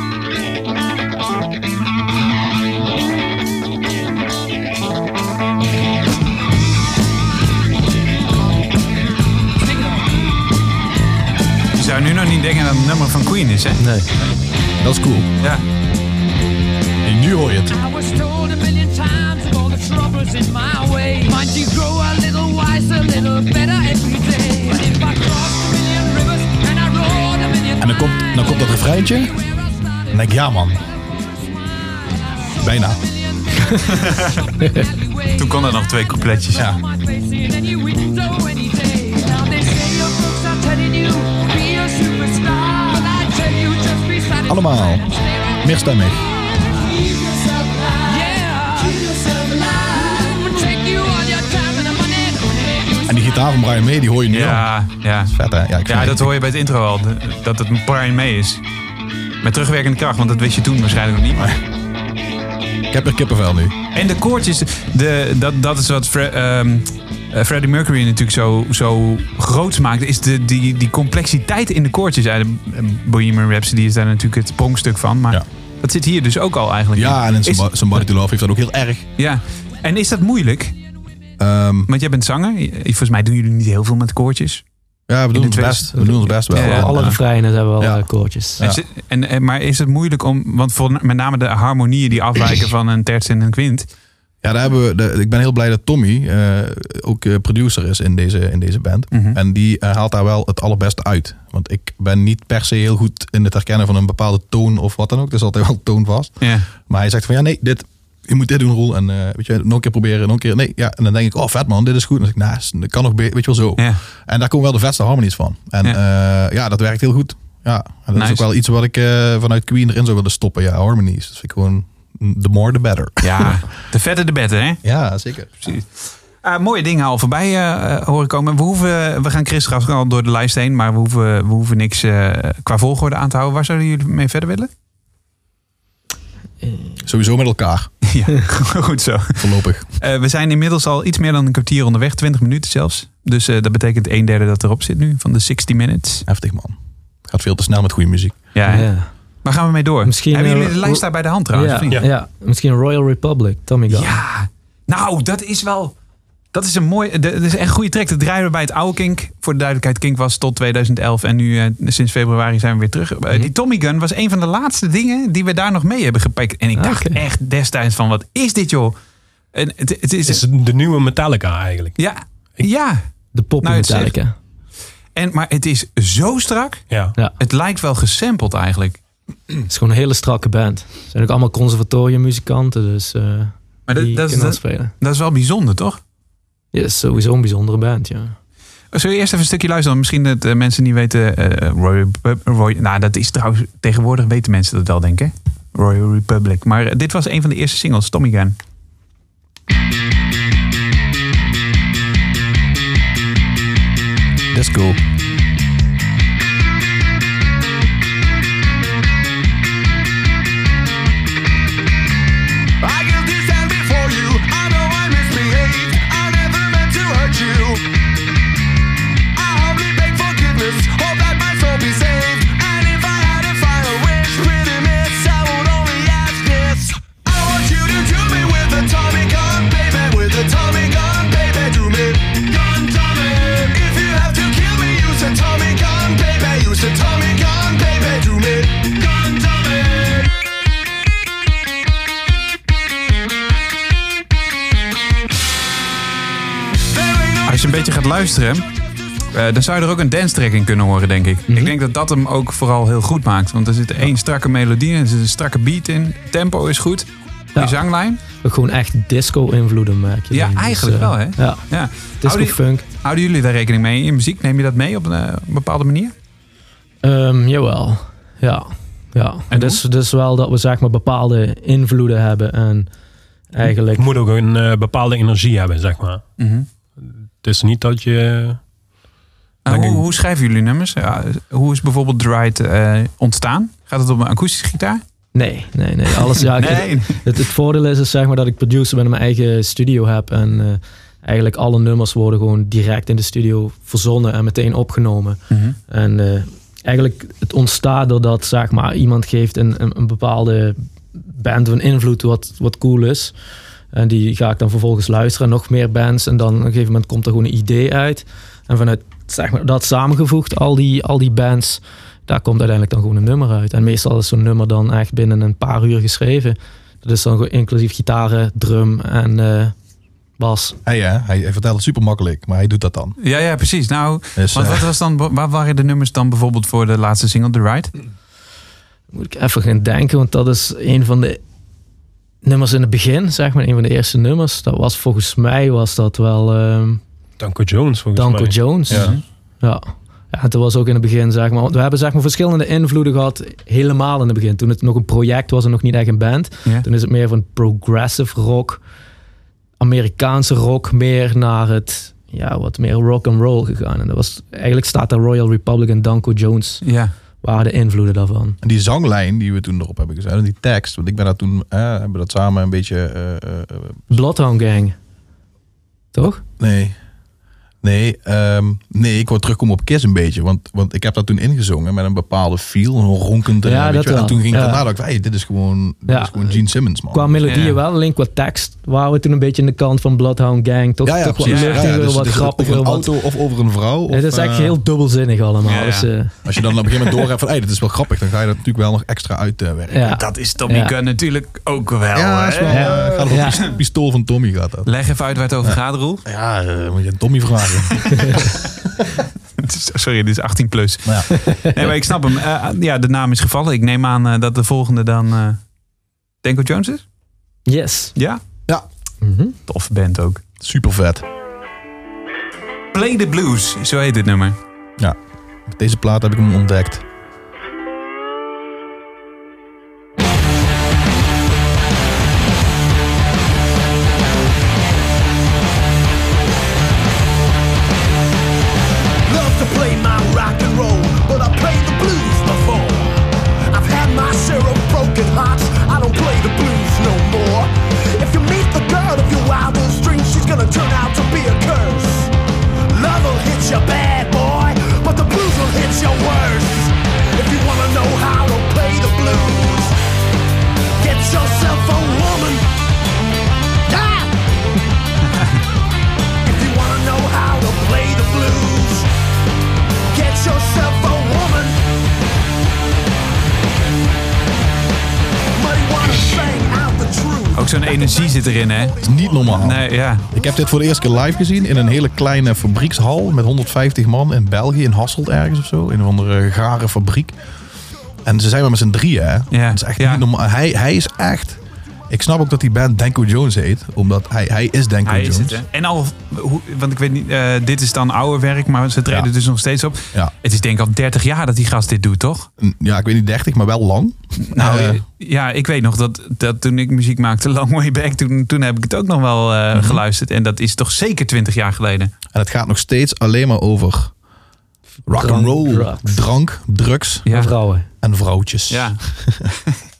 S7: Keep
S2: zou nu nog niet denken dat het een nummer van Queen is, hè?
S6: Nee.
S4: Dat is cool.
S2: Ja.
S4: Hey, nu hoor je het.
S8: I was told a million times of all the troubles in my way. Mind you grow a little wiser, a little better every day. But if I crossed a million rivers and I rode a million
S4: En dan komt, dan komt dat refreintje. Dan denk ik, ja man, bijna.
S2: Toen kon er nog twee coupletjes.
S4: Ja. Allemaal meerstemmig. En die gitaar van Brian May, die hoor je nu al.
S2: Ja, ja.
S4: Vet hè? Ja, ik
S2: Ja,
S4: vind-
S2: dat hoor je bij het intro al. d- Dat het Brian May is. Met terugwerkende kracht, want dat wist je toen waarschijnlijk nog niet.
S4: Ik heb er kippenvel nu.
S2: En de koortjes, de, dat, dat is wat Fre- ehm, eh, Freddie Mercury natuurlijk zo, zo groots maakt. Is de, die, die complexiteit in de koortjes. Eh, de Bohemian Rhapsody is daar natuurlijk het pronkstuk van. Maar
S4: Ja.
S2: dat zit hier dus ook al eigenlijk
S4: Ja,
S2: in.
S4: en in
S2: Is-
S4: Somebody, Somebody to Love heeft dat ook heel erg.
S2: ja. En is dat moeilijk?
S4: Ehm,
S2: Want jij bent zanger. Je- Volgens mij doen jullie niet heel veel met koortjes.
S4: ja, we doen ons
S2: tweede-
S4: best. We doen ons best wel.
S2: Ja,
S4: En,
S6: Alle
S4: eh,
S6: refreinen hebben wel
S4: Ja.
S6: eh, koortjes.
S2: En zit- en, en- maar is het moeilijk om... Want voor, met name de harmonieën die afwijken van een terts en een kwint.
S4: Ja, daar hebben we, de- ik ben heel blij dat Tommy eh, ook eh, producer is in deze, in deze band.
S2: Mhm.
S4: En die eh, haalt daar wel het allerbeste uit. Want ik ben niet per se heel goed in het herkennen van een bepaalde toon of wat dan ook. Er is altijd wel toon vast.
S2: Ja.
S4: Maar hij zegt van ja, nee, dit, je moet dit doen, Roel. En eh, weet je, nog een keer proberen, nog een keer. Nee, ja. En dan denk ik, oh vet man, dit is goed. En dan zeg ik, nou, dat kan nog beter, weet je wel zo.
S2: Ja.
S4: En daar komen wel de vetste harmonies van. En ja, ja dat werkt heel goed. Ja, en dat
S2: Nice.
S4: is ook wel iets wat ik eh, vanuit Queen erin zou willen stoppen. Ja, harmonies. Dat vind ik gewoon, mm, the more the better.
S2: Ja, de vetter de better, hè?
S4: Ja, zeker.
S2: Ah, mooie dingen al voorbij eh, eh, horen komen. We, hoeven, we gaan Chris straks al door de lijst heen, maar we hoeven, we hoeven niks eh, qua volgorde aan te houden. Waar zouden jullie mee verder willen?
S4: Sowieso met elkaar,
S2: Ja, goed zo.
S4: voorlopig.
S2: Eh, we zijn inmiddels al iets meer dan een kwartier onderweg, 20 minuten zelfs. Dus eh, dat betekent een derde dat erop zit nu, van de 60 minutes.
S4: Heftig man. Gaat veel te snel met goede muziek.
S2: Ja, hè?
S6: Ja.
S2: waar gaan we mee door?
S6: Misschien,
S2: Hebben jullie
S6: eh,
S2: de lijst daar bij de hand trouwens? of
S6: ja.
S2: niet?
S6: Ja. misschien Royal Republic, Tommy Gun.
S2: Ja, nou, dat is wel. Dat is een mooi. Dat is echt een goede track. Dat draaien we bij het oude Kink. Voor de duidelijkheid, Kink was tot 2011. En nu, eh, sinds februari, zijn we weer terug. Eh, Die Tommy Gun was een van de laatste dingen die we daar nog mee hebben gepikt. En ik dacht
S6: Oké.
S2: echt destijds van, wat is dit joh? En het, het is,
S5: is de nieuwe Metallica eigenlijk.
S2: ja, ja.
S6: De pop
S2: Nou, het is
S6: Metallica.
S2: En, maar het is zo strak.
S5: Ja.
S6: Ja,
S2: Het lijkt wel gesampled eigenlijk.
S6: het is gewoon een hele strakke band. Ze zijn ook allemaal conservatoriummuzikanten, dus eh,
S2: Maar dat,
S6: die
S2: dat, is,
S6: kunnen dat
S2: dat,
S6: spelen.
S2: dat is wel bijzonder, toch?
S6: Ja, is sowieso een bijzondere band, ja.
S2: Zullen we eerst even een stukje luisteren? Want Misschien dat eh, mensen niet weten. eh Royal Repub- Roy, nou, dat is trouwens. Tegenwoordig weten mensen dat wel, denk ik. hè? Royal Republic. Maar eh, dit was een van de eerste singles, Tommy Gun.
S4: Disco.
S7: I guess this stand before you. I know I misbehaved. I never meant to hurt you. I humbly beg forgiveness. Hope that my soul be saved. And if I had a final wish, pretty miss, I would only ask this. I want you to do me with a Tommy gun, baby. With a Tommy gun, baby, do me. Gun Tommy. If you have to kill me, use a Tommy gun, baby. Use a Tommy gun, baby, do me. Gun Tommy.
S2: Als je een beetje gaat luisteren, eh, dan zou je er ook een dance track in kunnen horen, denk ik. Ik denk dat dat hem ook vooral heel goed maakt. Want er zit één strakke melodie in, er zit een strakke beat in. Tempo is goed. Die
S6: Ja.
S2: zanglijn.
S6: Ook gewoon echt disco-invloeden merk je.
S2: Ja,
S6: dan. Dus,
S2: eigenlijk
S6: eh,
S2: wel, hè?
S6: Ja,
S2: Ja. Houden,
S6: disco-funk.
S2: houden jullie daar rekening mee in je muziek? Neem je dat mee op een eh, bepaalde manier?
S6: Ehm, jawel, ja. ja.
S2: En
S6: dus, dus wel dat we zeg maar bepaalde invloeden hebben en eigenlijk...
S5: Het moet ook een eh, bepaalde energie hebben, zeg maar.
S2: Mhm.
S5: Het is niet dat je...
S2: En
S5: Dank
S2: Ah, hoe,
S5: u.
S2: hoe schrijven jullie nummers? Ja, hoe is bijvoorbeeld Dried eh, ontstaan? Gaat het op een akoestische gitaar?
S6: Nee, nee, nee. Alles, ja, ik- Het, het voordeel is, is zeg maar, dat ik producer ben in mijn eigen studio heb. En eh, eigenlijk alle nummers worden gewoon direct in de studio verzonnen en meteen opgenomen.
S2: Mhm.
S6: En eh, eigenlijk het ontstaat doordat zeg maar, iemand geeft een, een, een bepaalde band een invloed wat, wat cool is. En die ga ik dan vervolgens luisteren, nog meer bands. En dan op een gegeven moment komt er gewoon een idee uit. En vanuit zeg maar, dat samengevoegd, al die, al die bands, daar komt uiteindelijk dan gewoon een nummer uit. En meestal is zo'n nummer dan echt binnen een paar uur geschreven. Dat is dan gewoon inclusief gitaren, drum en eh, bas.
S4: Hij, hè, hij, hij vertelt het super makkelijk, maar hij doet dat dan.
S2: Ja, ja, precies. Nou,
S4: Dus,
S2: want
S4: eh,
S2: wat was dan, waar waren de nummers dan bijvoorbeeld voor de laatste single, The Ride?
S6: Moet ik even gaan denken, want dat is een van de nummers in het begin, zeg maar. Een van de eerste nummers. Dat was volgens mij was dat wel ehm
S5: Danko Jones volgens
S6: Danko
S5: mij.
S6: Jones.
S5: Ja.
S6: Ja. Ja, dat was ook in het begin, zeg maar. Want we hebben zeg maar verschillende invloeden gehad, helemaal in het begin. Toen het nog een project was en nog niet echt een band.
S2: Ja.
S6: Toen is het meer van progressive rock, Amerikaanse rock, meer naar het, ja, wat meer rock and roll gegaan. En dat was, eigenlijk staat daar Royal Republic en Danko Jones,
S2: Ja.
S6: waren de invloeden daarvan.
S4: En die zanglijn die we toen erop hebben gezet, en die tekst, want ik ben daar toen, eh, hebben we dat samen een beetje, eh, eh, eh,
S6: Bloodhound Gang. Toch?
S4: nee, nee, ehm, nee, ik wou terugkomen op Kiss een beetje, want, want ik heb dat toen ingezongen met een bepaalde feel, een ronkende,
S6: Ja,
S4: weet
S6: dat
S4: je wel. en
S6: wel.
S4: toen ging ik
S6: Ja.
S4: daarna, dacht ik, hey, dit is gewoon, dit
S6: Ja.
S4: is gewoon Gene Simmons man.
S6: Qua melodieën
S2: Oh, Ja.
S6: wel, alleen qua tekst waren we toen een beetje aan de kant van Bloodhound Gang. Toch,
S4: ja, ja,
S6: toch wat
S4: precies. Ja,
S6: luchtiger,
S4: ja, dus
S6: wat
S4: het is
S6: grappiger.
S4: Over een
S6: wat-
S4: auto of over een vrouw.
S6: Het
S4: of,
S6: is echt
S4: eh,
S6: heel dubbelzinnig allemaal.
S2: Ja,
S6: Dus,
S2: ja.
S6: eh,
S4: Als je dan op een gegeven moment doorhebt van, hé, dit is wel grappig, dan ga je dat natuurlijk wel nog extra uitwerken.
S6: eh, ja.
S2: Dat is Tommy
S6: Ja.
S2: Gunn natuurlijk ook wel.
S4: Ja, is
S2: hè?
S4: wel, eh, gaat over
S6: Ja.
S4: het pist- pistool van Tommy gaat dat.
S2: Leg even uit waar het over gaat, Roel.
S4: Ja, eh, moet je een Tommy vragen.
S2: Sorry, dit is 18 plus.
S4: Nou ja.
S2: Nee, maar ik snap hem. Eh, ja, de naam is gevallen. Ik neem aan eh, dat de volgende dan eh Danko Jones is.
S6: Yes.
S2: Ja,
S6: Mhm.
S2: tof band ook.
S4: Super vet.
S2: Play the Blues, zo heet het nummer.
S4: Met deze plaat heb ik hem ontdekt.
S9: Love to play my rock and roll, but I played the blues before. I've had my share of broken hearts, I don't play the blues no more. If you meet the girl of your wildest dreams, she's gonna turn out to be a curse. Love will hit you bad, boy, but the blues will hit you worse. If you wanna know how to play the blues, get yourself a woman. Ah! If you wanna know how to play the blues, get yourself a woman. Muddy wanna sang out the truth.
S2: Ook zo'n energie zit erin, hè?
S4: Niet normaal.
S2: Nee, ja.
S4: Ik heb dit voor de eerste keer live gezien in een hele kleine fabriekshal met 150 man in België, in Hasselt ergens of zo. In een of andere gare fabriek. En ze zijn maar met z'n drieën, hè?
S2: Ja,
S4: Dat is echt
S2: ja.
S4: niet normaal. Hij, hij is echt... Ik snap ook dat die band Danko Jones heet, omdat hij, hij is Danko
S2: Hij is
S4: Jones.
S2: het, hè? En al, hoe- want ik weet niet, eh, dit is dan ouder werk, maar ze treden
S4: Ja.
S2: dus nog steeds op.
S4: Ja.
S2: Het is denk ik al 30 jaar dat die gast dit doet, toch?
S4: Ja, ik weet niet 30, maar wel lang.
S2: Nou,
S4: Eh,
S2: eh, ja, ik weet nog dat, dat toen ik muziek maakte, Long Way Back, toen, toen heb ik het ook nog wel eh,
S4: Mhm.
S2: geluisterd. En dat is toch zeker 20 jaar geleden.
S4: En het gaat nog steeds alleen maar over rock
S6: Drank,
S4: and roll,
S6: drugs.
S4: drank, drugs
S2: Ja.
S6: Vrouwen.
S4: en vrouwtjes.
S2: Ja.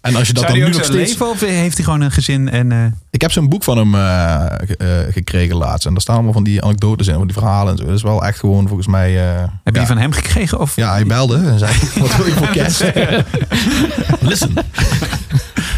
S4: En als je dat
S2: Zou
S4: dan
S2: die
S4: nu
S2: ook
S4: nog
S2: zo
S4: steeds...
S2: leven of heeft hij gewoon een gezin? En, eh,
S4: Ik heb zo'n boek van hem eh, ge- eh, gekregen laatst. En daar staan allemaal van die anekdotes in, van die verhalen en zo. Dat is wel echt gewoon volgens mij... eh,
S2: heb je
S4: ja.
S2: die van hem gekregen? Of?
S4: Ja, hij belde en zei, wat wil je voor cash? Listen.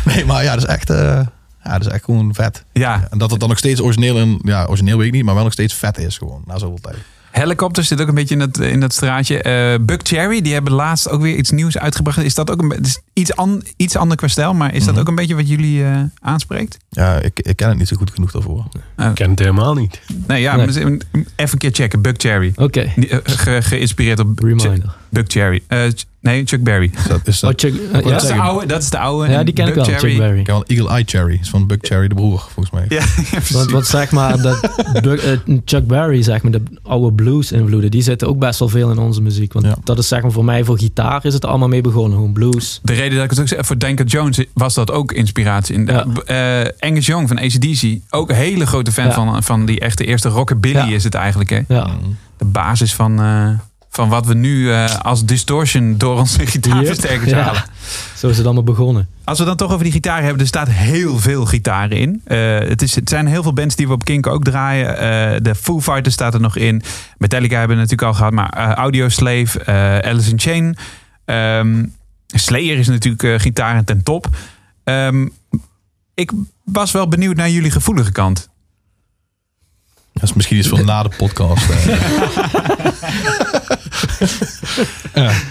S4: nee, maar ja, dat is echt... eh, ja, dat is echt gewoon vet.
S2: Ja.
S4: En dat het dan nog steeds origineel en ja, origineel weet ik niet, maar wel nog steeds vet is gewoon na zoveel tijd.
S2: Helicopters zit ook een beetje in dat, in dat straatje. Eh Buck Cherry, die hebben laatst ook weer iets nieuws uitgebracht. Is dat ook een be- het is iets, an, iets ander qua stijl, maar is
S6: Mhm.
S2: dat ook een beetje wat jullie eh, aanspreekt?
S4: Ja, ik, ik ken het niet zo goed genoeg daarvoor.
S5: Ik ken het helemaal niet.
S2: Nee, ja,
S6: Nee.
S2: maar even een keer checken. Buck Cherry.
S6: Oké.
S2: Die, eh, ge- geïnspireerd op Ch-
S6: Reminder.
S2: Buck Cherry. Eh, Ch- nee, Chuck Berry.
S4: Is dat, is dat,
S6: Oh, check- eh,
S2: Dat is de
S6: ja?
S2: oude. Dat is de oude.
S6: ja,
S2: En
S6: die ken ik
S2: Buck
S6: wel. Chuck
S2: Cherry.
S6: Berry.
S4: Ik ken wel Eagle Eye Cherry. Is van Buck Cherry de broer, volgens mij.
S2: Ja, ja, precies.
S6: Want, want zeg maar, dat Buck- eh, Chuck Berry, zeg maar, de oude blues-invloeden, die zitten ook best wel veel in onze muziek. Want
S4: Ja.
S6: dat is zeg maar voor mij, voor gitaar is het allemaal mee begonnen. Gewoon blues.
S2: De reden dat ik het ook zeg, voor Danko Jones was dat ook inspiratie. In.
S6: Ja.
S2: Eh, Angus Young van ACDC, ook een hele grote fan
S6: Ja.
S2: van, van die echte eerste rockabilly
S6: Ja.
S2: is het eigenlijk. Hè?
S6: Ja.
S4: Mm.
S2: De basis van, eh, van wat we nu eh, als distortion door onze gitaarversterkers
S6: Ja.
S2: halen.
S6: Zo is het allemaal begonnen.
S2: Als we dan toch over die gitaar hebben, er staat heel veel gitaren in. Eh, het, is, het zijn heel veel bands die we op Kink ook draaien. Eh, de Foo Fighters staat er nog in. Metallica hebben we natuurlijk al gehad, maar eh, Audio Slave, eh, Alice in Chain. Ehm, Slayer is natuurlijk eh, gitaren ten top. Ehm, ik was wel benieuwd naar jullie gevoelige kant.
S4: Dat is misschien iets van na de podcast. eh.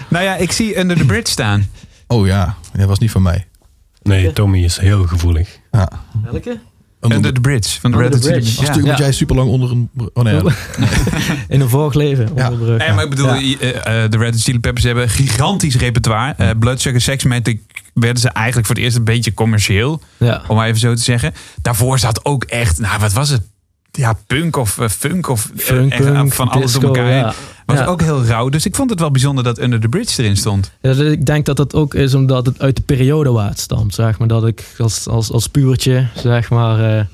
S2: Nou ja, ik zie Under the Bridge staan.
S4: Oh ja, dat was niet van mij.
S5: Nee, Tommy is heel gevoelig.
S4: Ja.
S6: Welke?
S2: Under the Bridge van de
S6: Under
S2: Red Hot
S6: the
S2: Chili
S6: Bridge.
S2: Peppers.
S4: Als natuurlijk
S2: Ja.
S4: moet jij super lang onder een. Oh nee, ja.
S6: In een vorig leven.
S4: Ja.
S6: Onder de brug.
S2: Nee, maar ik bedoel,
S6: Ja.
S2: eh, eh, de Red Hot Chili Peppers hebben een gigantisch repertoire. Eh Blood Sugar Sex Magic werden ze eigenlijk voor het eerst een beetje commercieel.
S6: Ja.
S2: Om maar even zo te zeggen. Daarvoor zat ook echt, nou wat was het? Ja, punk of eh, funk of eh,
S6: Funk,
S2: echt, eh,
S6: punk,
S2: van alles
S6: disco,
S2: door elkaar. heen.
S6: ja.
S2: Was
S6: Ja.
S2: ook heel rauw. Dus ik vond het wel bijzonder dat Under the Bridge erin stond.
S6: Ja, dat- ik denk dat dat ook is omdat het uit de periode waar het stamt. Zeg maar dat ik als, als, als pubertje, zeg maar, eh,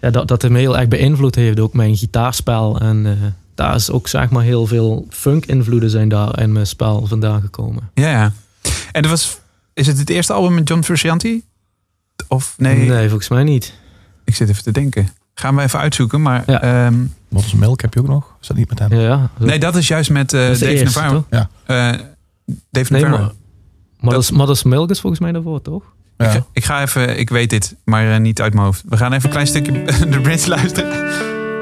S6: ja, dat, dat het me heel erg beïnvloed heeft. Ook mijn gitaarspel. En eh, daar is ook zeg maar heel veel funk-invloeden zijn daar in mijn spel vandaan gekomen.
S2: Ja, ja. En dat was, is het het eerste album met John Frusciante? Of nee,
S6: nee volgens mij niet.
S2: ik zit even te denken. Gaan we even uitzoeken, maar...
S6: Ja.
S2: ehm,
S4: Wat is melk heb je ook nog? Is dat niet met hem?
S6: Ja, ja.
S2: nee, dat is juist met eh,
S6: Dat is de
S2: Dave
S6: eerste,
S2: Navarro.
S6: toch?
S4: Ja.
S2: Eh, Dave
S6: Nee,
S2: Navarro.
S6: maar, maar dat is, maar dat is Milk is volgens mij daarvoor, toch?
S4: Ja.
S2: Ik, ga- ik ga even, ik weet dit, maar eh, niet uit mijn hoofd. We gaan even een klein stukje de bridge luisteren.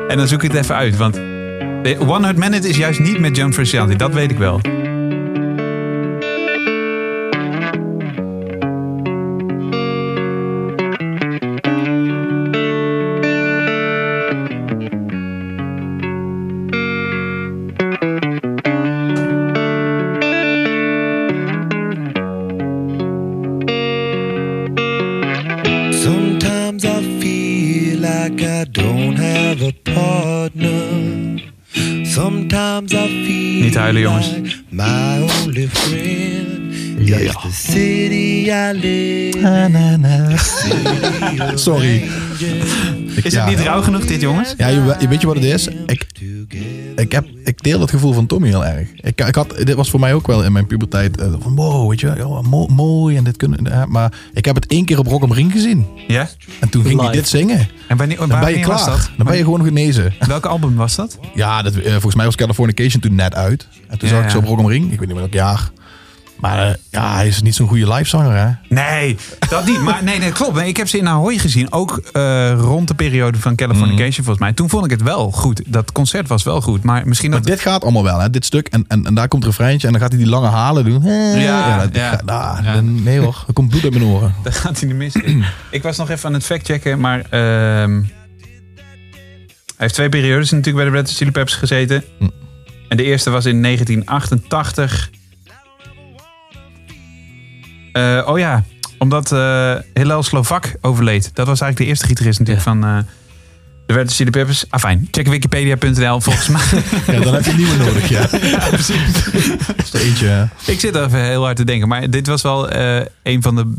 S2: En dan zoek ik het even uit, want de One Hot Minute is juist niet met John Frusciante, dat weet ik wel.
S7: Sometimes I feel like I don't have a partner. Sometimes I feel
S2: Niet huilen, jongens.
S7: like my only friend is the city I live in.
S4: Sorry. Ik-
S2: Is
S4: ja.
S2: het niet rauw genoeg dit, jongens?
S4: Ja, je, je weet je wat het is? Ik, ik, heb, ik deel dat gevoel van Tommy heel erg. Ik, ik had, dit was voor mij ook wel in mijn puberteit. eh, van wow, weet je wel, joh, mo- mooi en dit kunnen. eh, maar ik heb het één keer op Rock om Ring gezien.
S2: Ja?
S4: En toen ging hij
S6: Live.
S4: dit zingen.
S2: En wanneer,
S4: Dan ben je
S2: wanneer was
S4: klaar.
S2: dat?
S4: Dan ben je gewoon genezen.
S2: Welk album was dat?
S4: Ja, dat, eh, volgens mij was Californication toen net uit. En toen
S2: Ja,
S4: zag ik ze
S2: ja.
S4: op Rock om Ring. Ik weet niet meer welk jaar. Maar eh, ja, hij is niet zo'n goede livezanger, hè?
S2: Nee, dat niet. Maar nee, dat klopt. Nee, ik heb ze in Ahoy gezien. Ook eh, rond de periode van Californication,
S4: Mm.
S2: volgens mij. Toen vond ik het wel goed. Dat concert was wel goed. Maar misschien
S4: Maar
S2: dat...
S4: dit gaat allemaal wel, hè? Dit stuk. En, en, en daar komt een refreintje. En dan gaat hij die lange halen doen. Ja, dat,
S2: ja.
S4: gaat- ah, dan- Nee hoor, er komt bloed uit mijn oren.
S2: Daar gaat hij de mis in. ik was nog even aan het factchecken, maar... ehm, hij heeft twee periodes natuurlijk bij de Red Hot Chili Peppers gezeten.
S4: Hm.
S2: En de eerste was in 1988. Eh, oh ja, omdat eh Hillel Slovak overleed. Dat was eigenlijk de eerste gitarist natuurlijk van... eh, de Red Hot Chili Peppers. Ah, fijn. Check wikipedia.nl volgens mij.
S4: Ja, dan heb je een nieuwe nodig, ja. Oh, Dat is er eentje. hè.
S2: Ik zit er even heel hard te denken. Maar dit was wel eh, een van de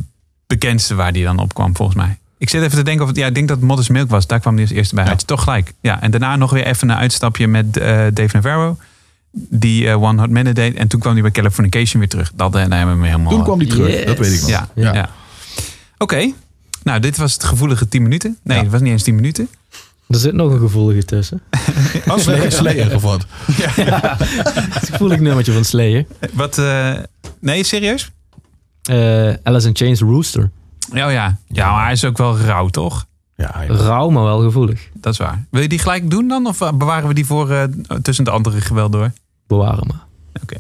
S2: bekendste waar die dan op kwam, volgens mij. Ik zit even te denken of het, ja, ik denk dat het Modest Milk was. Daar kwam die als eerste bij uit. Toch gelijk. Ja, en daarna nog weer even een uitstapje met eh, Dave Navarro. Die eh, One Hot Minute deed. En toen kwam hij bij Californication weer terug. Dat eh, daar hebben we hem helemaal...
S4: Toen kwam die terug, dat weet ik nog.
S2: Ja, ja.
S4: Ja.
S2: Oké. Nou, dit was het gevoelige 10 minuten. Nee,
S4: Ja.
S2: het was niet eens 10 minuten.
S6: Er zit nog een gevoelige tussen.
S4: Oh, Slayer, Slayer of wat?
S6: Het gevoelig nummertje van Slayer.
S2: Wat, eh, nee, serieus?
S6: Eh Alice in Chains Rooster.
S2: Oh ja. Ja, maar hij is ook wel rauw, toch?
S4: Ja, ja.
S6: Rauw, maar wel gevoelig.
S2: Dat is waar. Wil je die gelijk doen dan? Of eh, bewaren we die voor eh, tussen de andere geweld door?
S6: Bewaren maar.
S4: oké.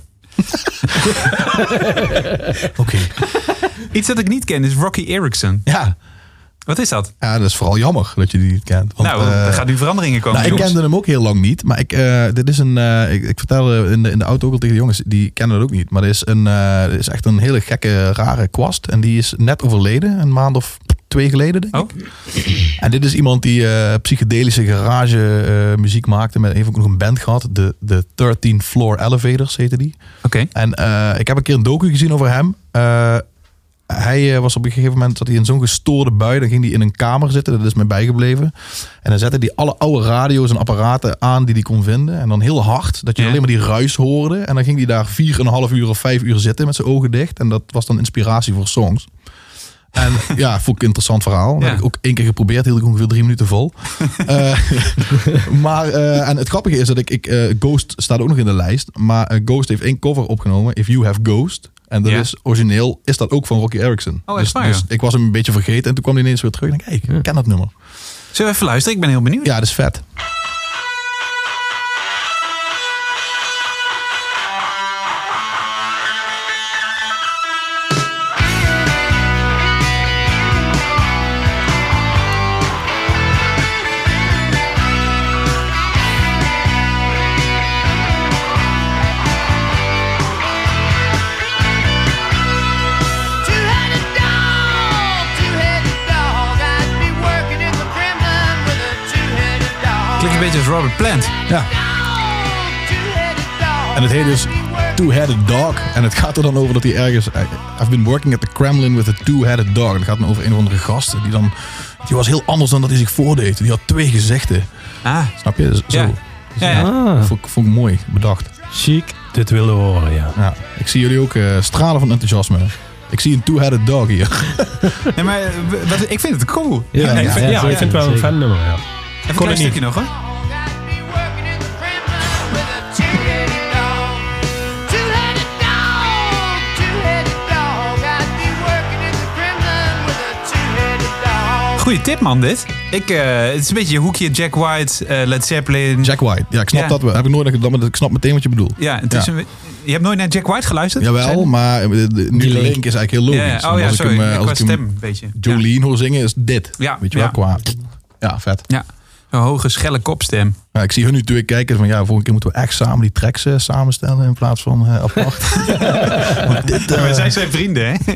S2: Iets dat ik niet ken is Rocky Erickson.
S4: Ja.
S2: Wat is dat?
S4: ja, dat is vooral jammer dat je die niet kent. Want,
S2: nou,
S4: eh,
S2: er gaan nu veranderingen komen.
S4: nou, ik
S2: jongens.
S4: kende hem ook heel lang niet, maar ik, eh, dit is een, eh, ik, ik vertelde in de, in de auto ook al tegen de jongens, die kennen dat ook niet. Maar dit is, een, eh, dit is echt een hele gekke, rare kwast. En die is net overleden, een maand of twee geleden denk ik.
S2: Oh,
S4: En dit is iemand die eh, psychedelische garage eh, muziek maakte. Met even ook nog een band gehad. De, de 13 Floor Elevators heette die.
S2: oké.
S4: En eh, ik heb een keer een docu gezien over hem. Eh, hij eh, was op een gegeven moment zat hij in zo'n gestoorde bui. Dan ging hij in een kamer zitten. Dat is mij bijgebleven. En dan zette hij alle oude radio's en apparaten aan die hij kon vinden. En dan heel hard. Dat je
S2: Ja.
S4: alleen maar die ruis hoorde. En dan ging hij daar vier en een half uur of vijf uur zitten met zijn ogen dicht. En dat was dan inspiratie voor songs. En ja, vond ik een interessant verhaal. Dat
S2: Ja.
S4: heb ik ook één keer geprobeerd. Hield ik ongeveer drie minuten vol. Eh, maar eh, en het grappige is dat ik, ik eh, Ghost staat ook nog in de lijst. Maar eh, Ghost heeft één cover opgenomen. If You Have Ghost. En dat
S2: Ja.
S4: is, origineel is dat ook van Rocky Erickson.
S2: Oh, echt
S4: dus,
S2: waar, ja.
S4: dus ik was hem een beetje vergeten en toen kwam hij ineens weer terug. En ik denk, hey, ik ken dat nummer.
S2: Zullen we even luisteren? Ik ben heel benieuwd.
S4: Ja, dat is vet.
S8: Two-headed dog, two-headed dog. I'd be working in the Kremlin with a two-headed dog.
S2: Klinkt een beetje als Robert Plant.
S4: Ja.
S8: Two-headed dog.
S4: En het heet dus Two-Headed Dog. En het gaat er dan over dat hij ergens... I- I've been working at the Kremlin with a two-headed dog. En het gaat dan over een of andere gast. Die dan... Die was heel anders dan dat hij zich voordeed. Die had twee gezichten.
S2: Ah,
S4: Snap je? Zo.
S2: ja. Ja, ja.
S6: Ah,
S4: Vond, ik- vond ik mooi bedacht.
S6: chic.
S5: Dit wilden we horen, ja.
S4: Ja. Ik zie jullie ook eh, stralen van enthousiasme. Ik zie een two-headed dog hier.
S2: Nee, maar eh, w- wat- ik vind het cool.
S6: Ja,
S5: ik vind, ja,
S2: Ah,
S6: zeker,
S5: ik vind het wel een
S6: zeker.
S5: fan nummer, ja.
S2: Even een klein stukje nog, hoor.
S8: I'd be working in the Kremlin with a two-headed dog. Two-headed dog, two-headed dog. I'd be working in the Kremlin with a two-headed dog.
S2: Goeie tip, man, dit. Ik, eh, het is een beetje hoekje Jack White, eh, Led Zeppelin.
S4: Jack White. Ja, ik snap
S2: Ja.
S4: dat. wel. Heb ik nooit dat gedaan, maar ik snap meteen wat je bedoelt.
S2: Ja, het is
S4: Ja.
S2: een- je hebt nooit naar Jack White geluisterd?
S4: Jawel, maar eh, de- de- nu de
S6: link.
S4: link is eigenlijk heel
S2: Ja,
S4: logisch.
S2: ja.
S4: Want
S2: Oh ja,
S4: als
S2: sorry.
S4: ik hem, eh,
S2: Ja,
S4: als
S2: qua
S4: ik hem
S2: stem, een beetje. Ja.
S4: Jolene hoor zingen, is dit.
S2: Ja,
S4: Weet je wel,
S2: ja.
S4: qua... Ja, vet.
S2: Ja, zo'n hoge, schelle kopstem.
S4: Ja, ik zie hun nu natuurlijk kijken van ja, volgende keer moeten we echt samen die tracks eh, samenstellen in plaats van eh, apart. Want dit eh,
S2: wij zijn zijn vrienden, hè?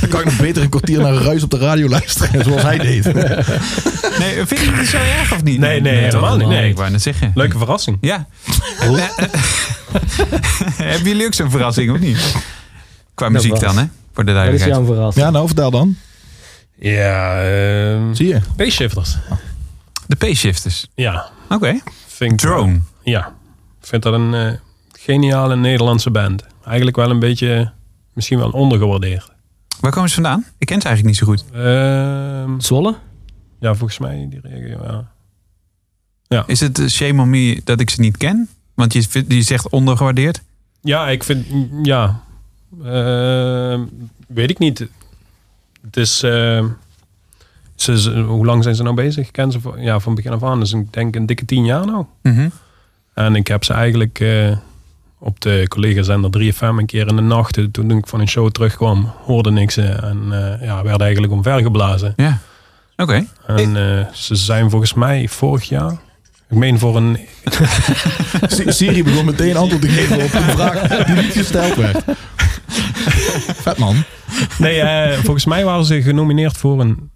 S4: dan kan ik nog beter een kwartier naar ruis op de radio luisteren, zoals hij deed.
S2: Nee, vind je het zo erg of niet?
S5: Nee, nee,
S2: toch? Oh,
S5: helemaal niet, nee.
S2: ik wou net zeggen.
S5: Leuke verrassing.
S2: Ja. eh, Hebben jullie ook zo'n verrassing, of niet? Qua muziek
S6: was-
S2: dan, hè? Voor de
S6: Dat is
S2: duidelijkheid.
S6: jouw verrassing.
S4: Ja, nou vertel dan.
S5: Ja, ehm
S4: Zie je?
S5: P-shifters.
S2: De P-shifters.
S5: Ja.
S2: Oké.
S5: Vind ik-
S2: Drone.
S5: Ja. Ik vind dat een eh, geniale Nederlandse band. Eigenlijk wel een beetje, eh, misschien wel ondergewaardeerd.
S2: Waar komen ze vandaan? Ik ken ze eigenlijk niet zo goed.
S5: Ehm,
S6: Zwolle?
S5: ja, volgens mij die regio, ja.
S2: Is het eh, shame on me dat ik ze niet ken? Want je, vindt- je zegt ondergewaardeerd.
S5: Ja, ik vind, mm, ja. Ehm, weet ik niet. Het is, ehm, ze, ze- hoe lang zijn ze nou bezig? Ik ken ze van, ja, van begin af aan. Dus ik denk een dikke tien jaar nou.
S2: Mhm.
S5: En ik heb ze eigenlijk eh, op de collega-zender 3FM een keer in de nacht, eh, toen ik van een show terugkwam, hoorde ik ze. En eh, ja, werden eigenlijk omvergeblazen.
S2: Ja. Oké.
S5: En eh, ze zijn volgens mij vorig jaar, ik meen voor een...
S4: Si- Siri begon meteen antwoord te geven op een vraag die niet gesteld werd. Vet man.
S5: Nee, eh, volgens mij waren ze genomineerd voor een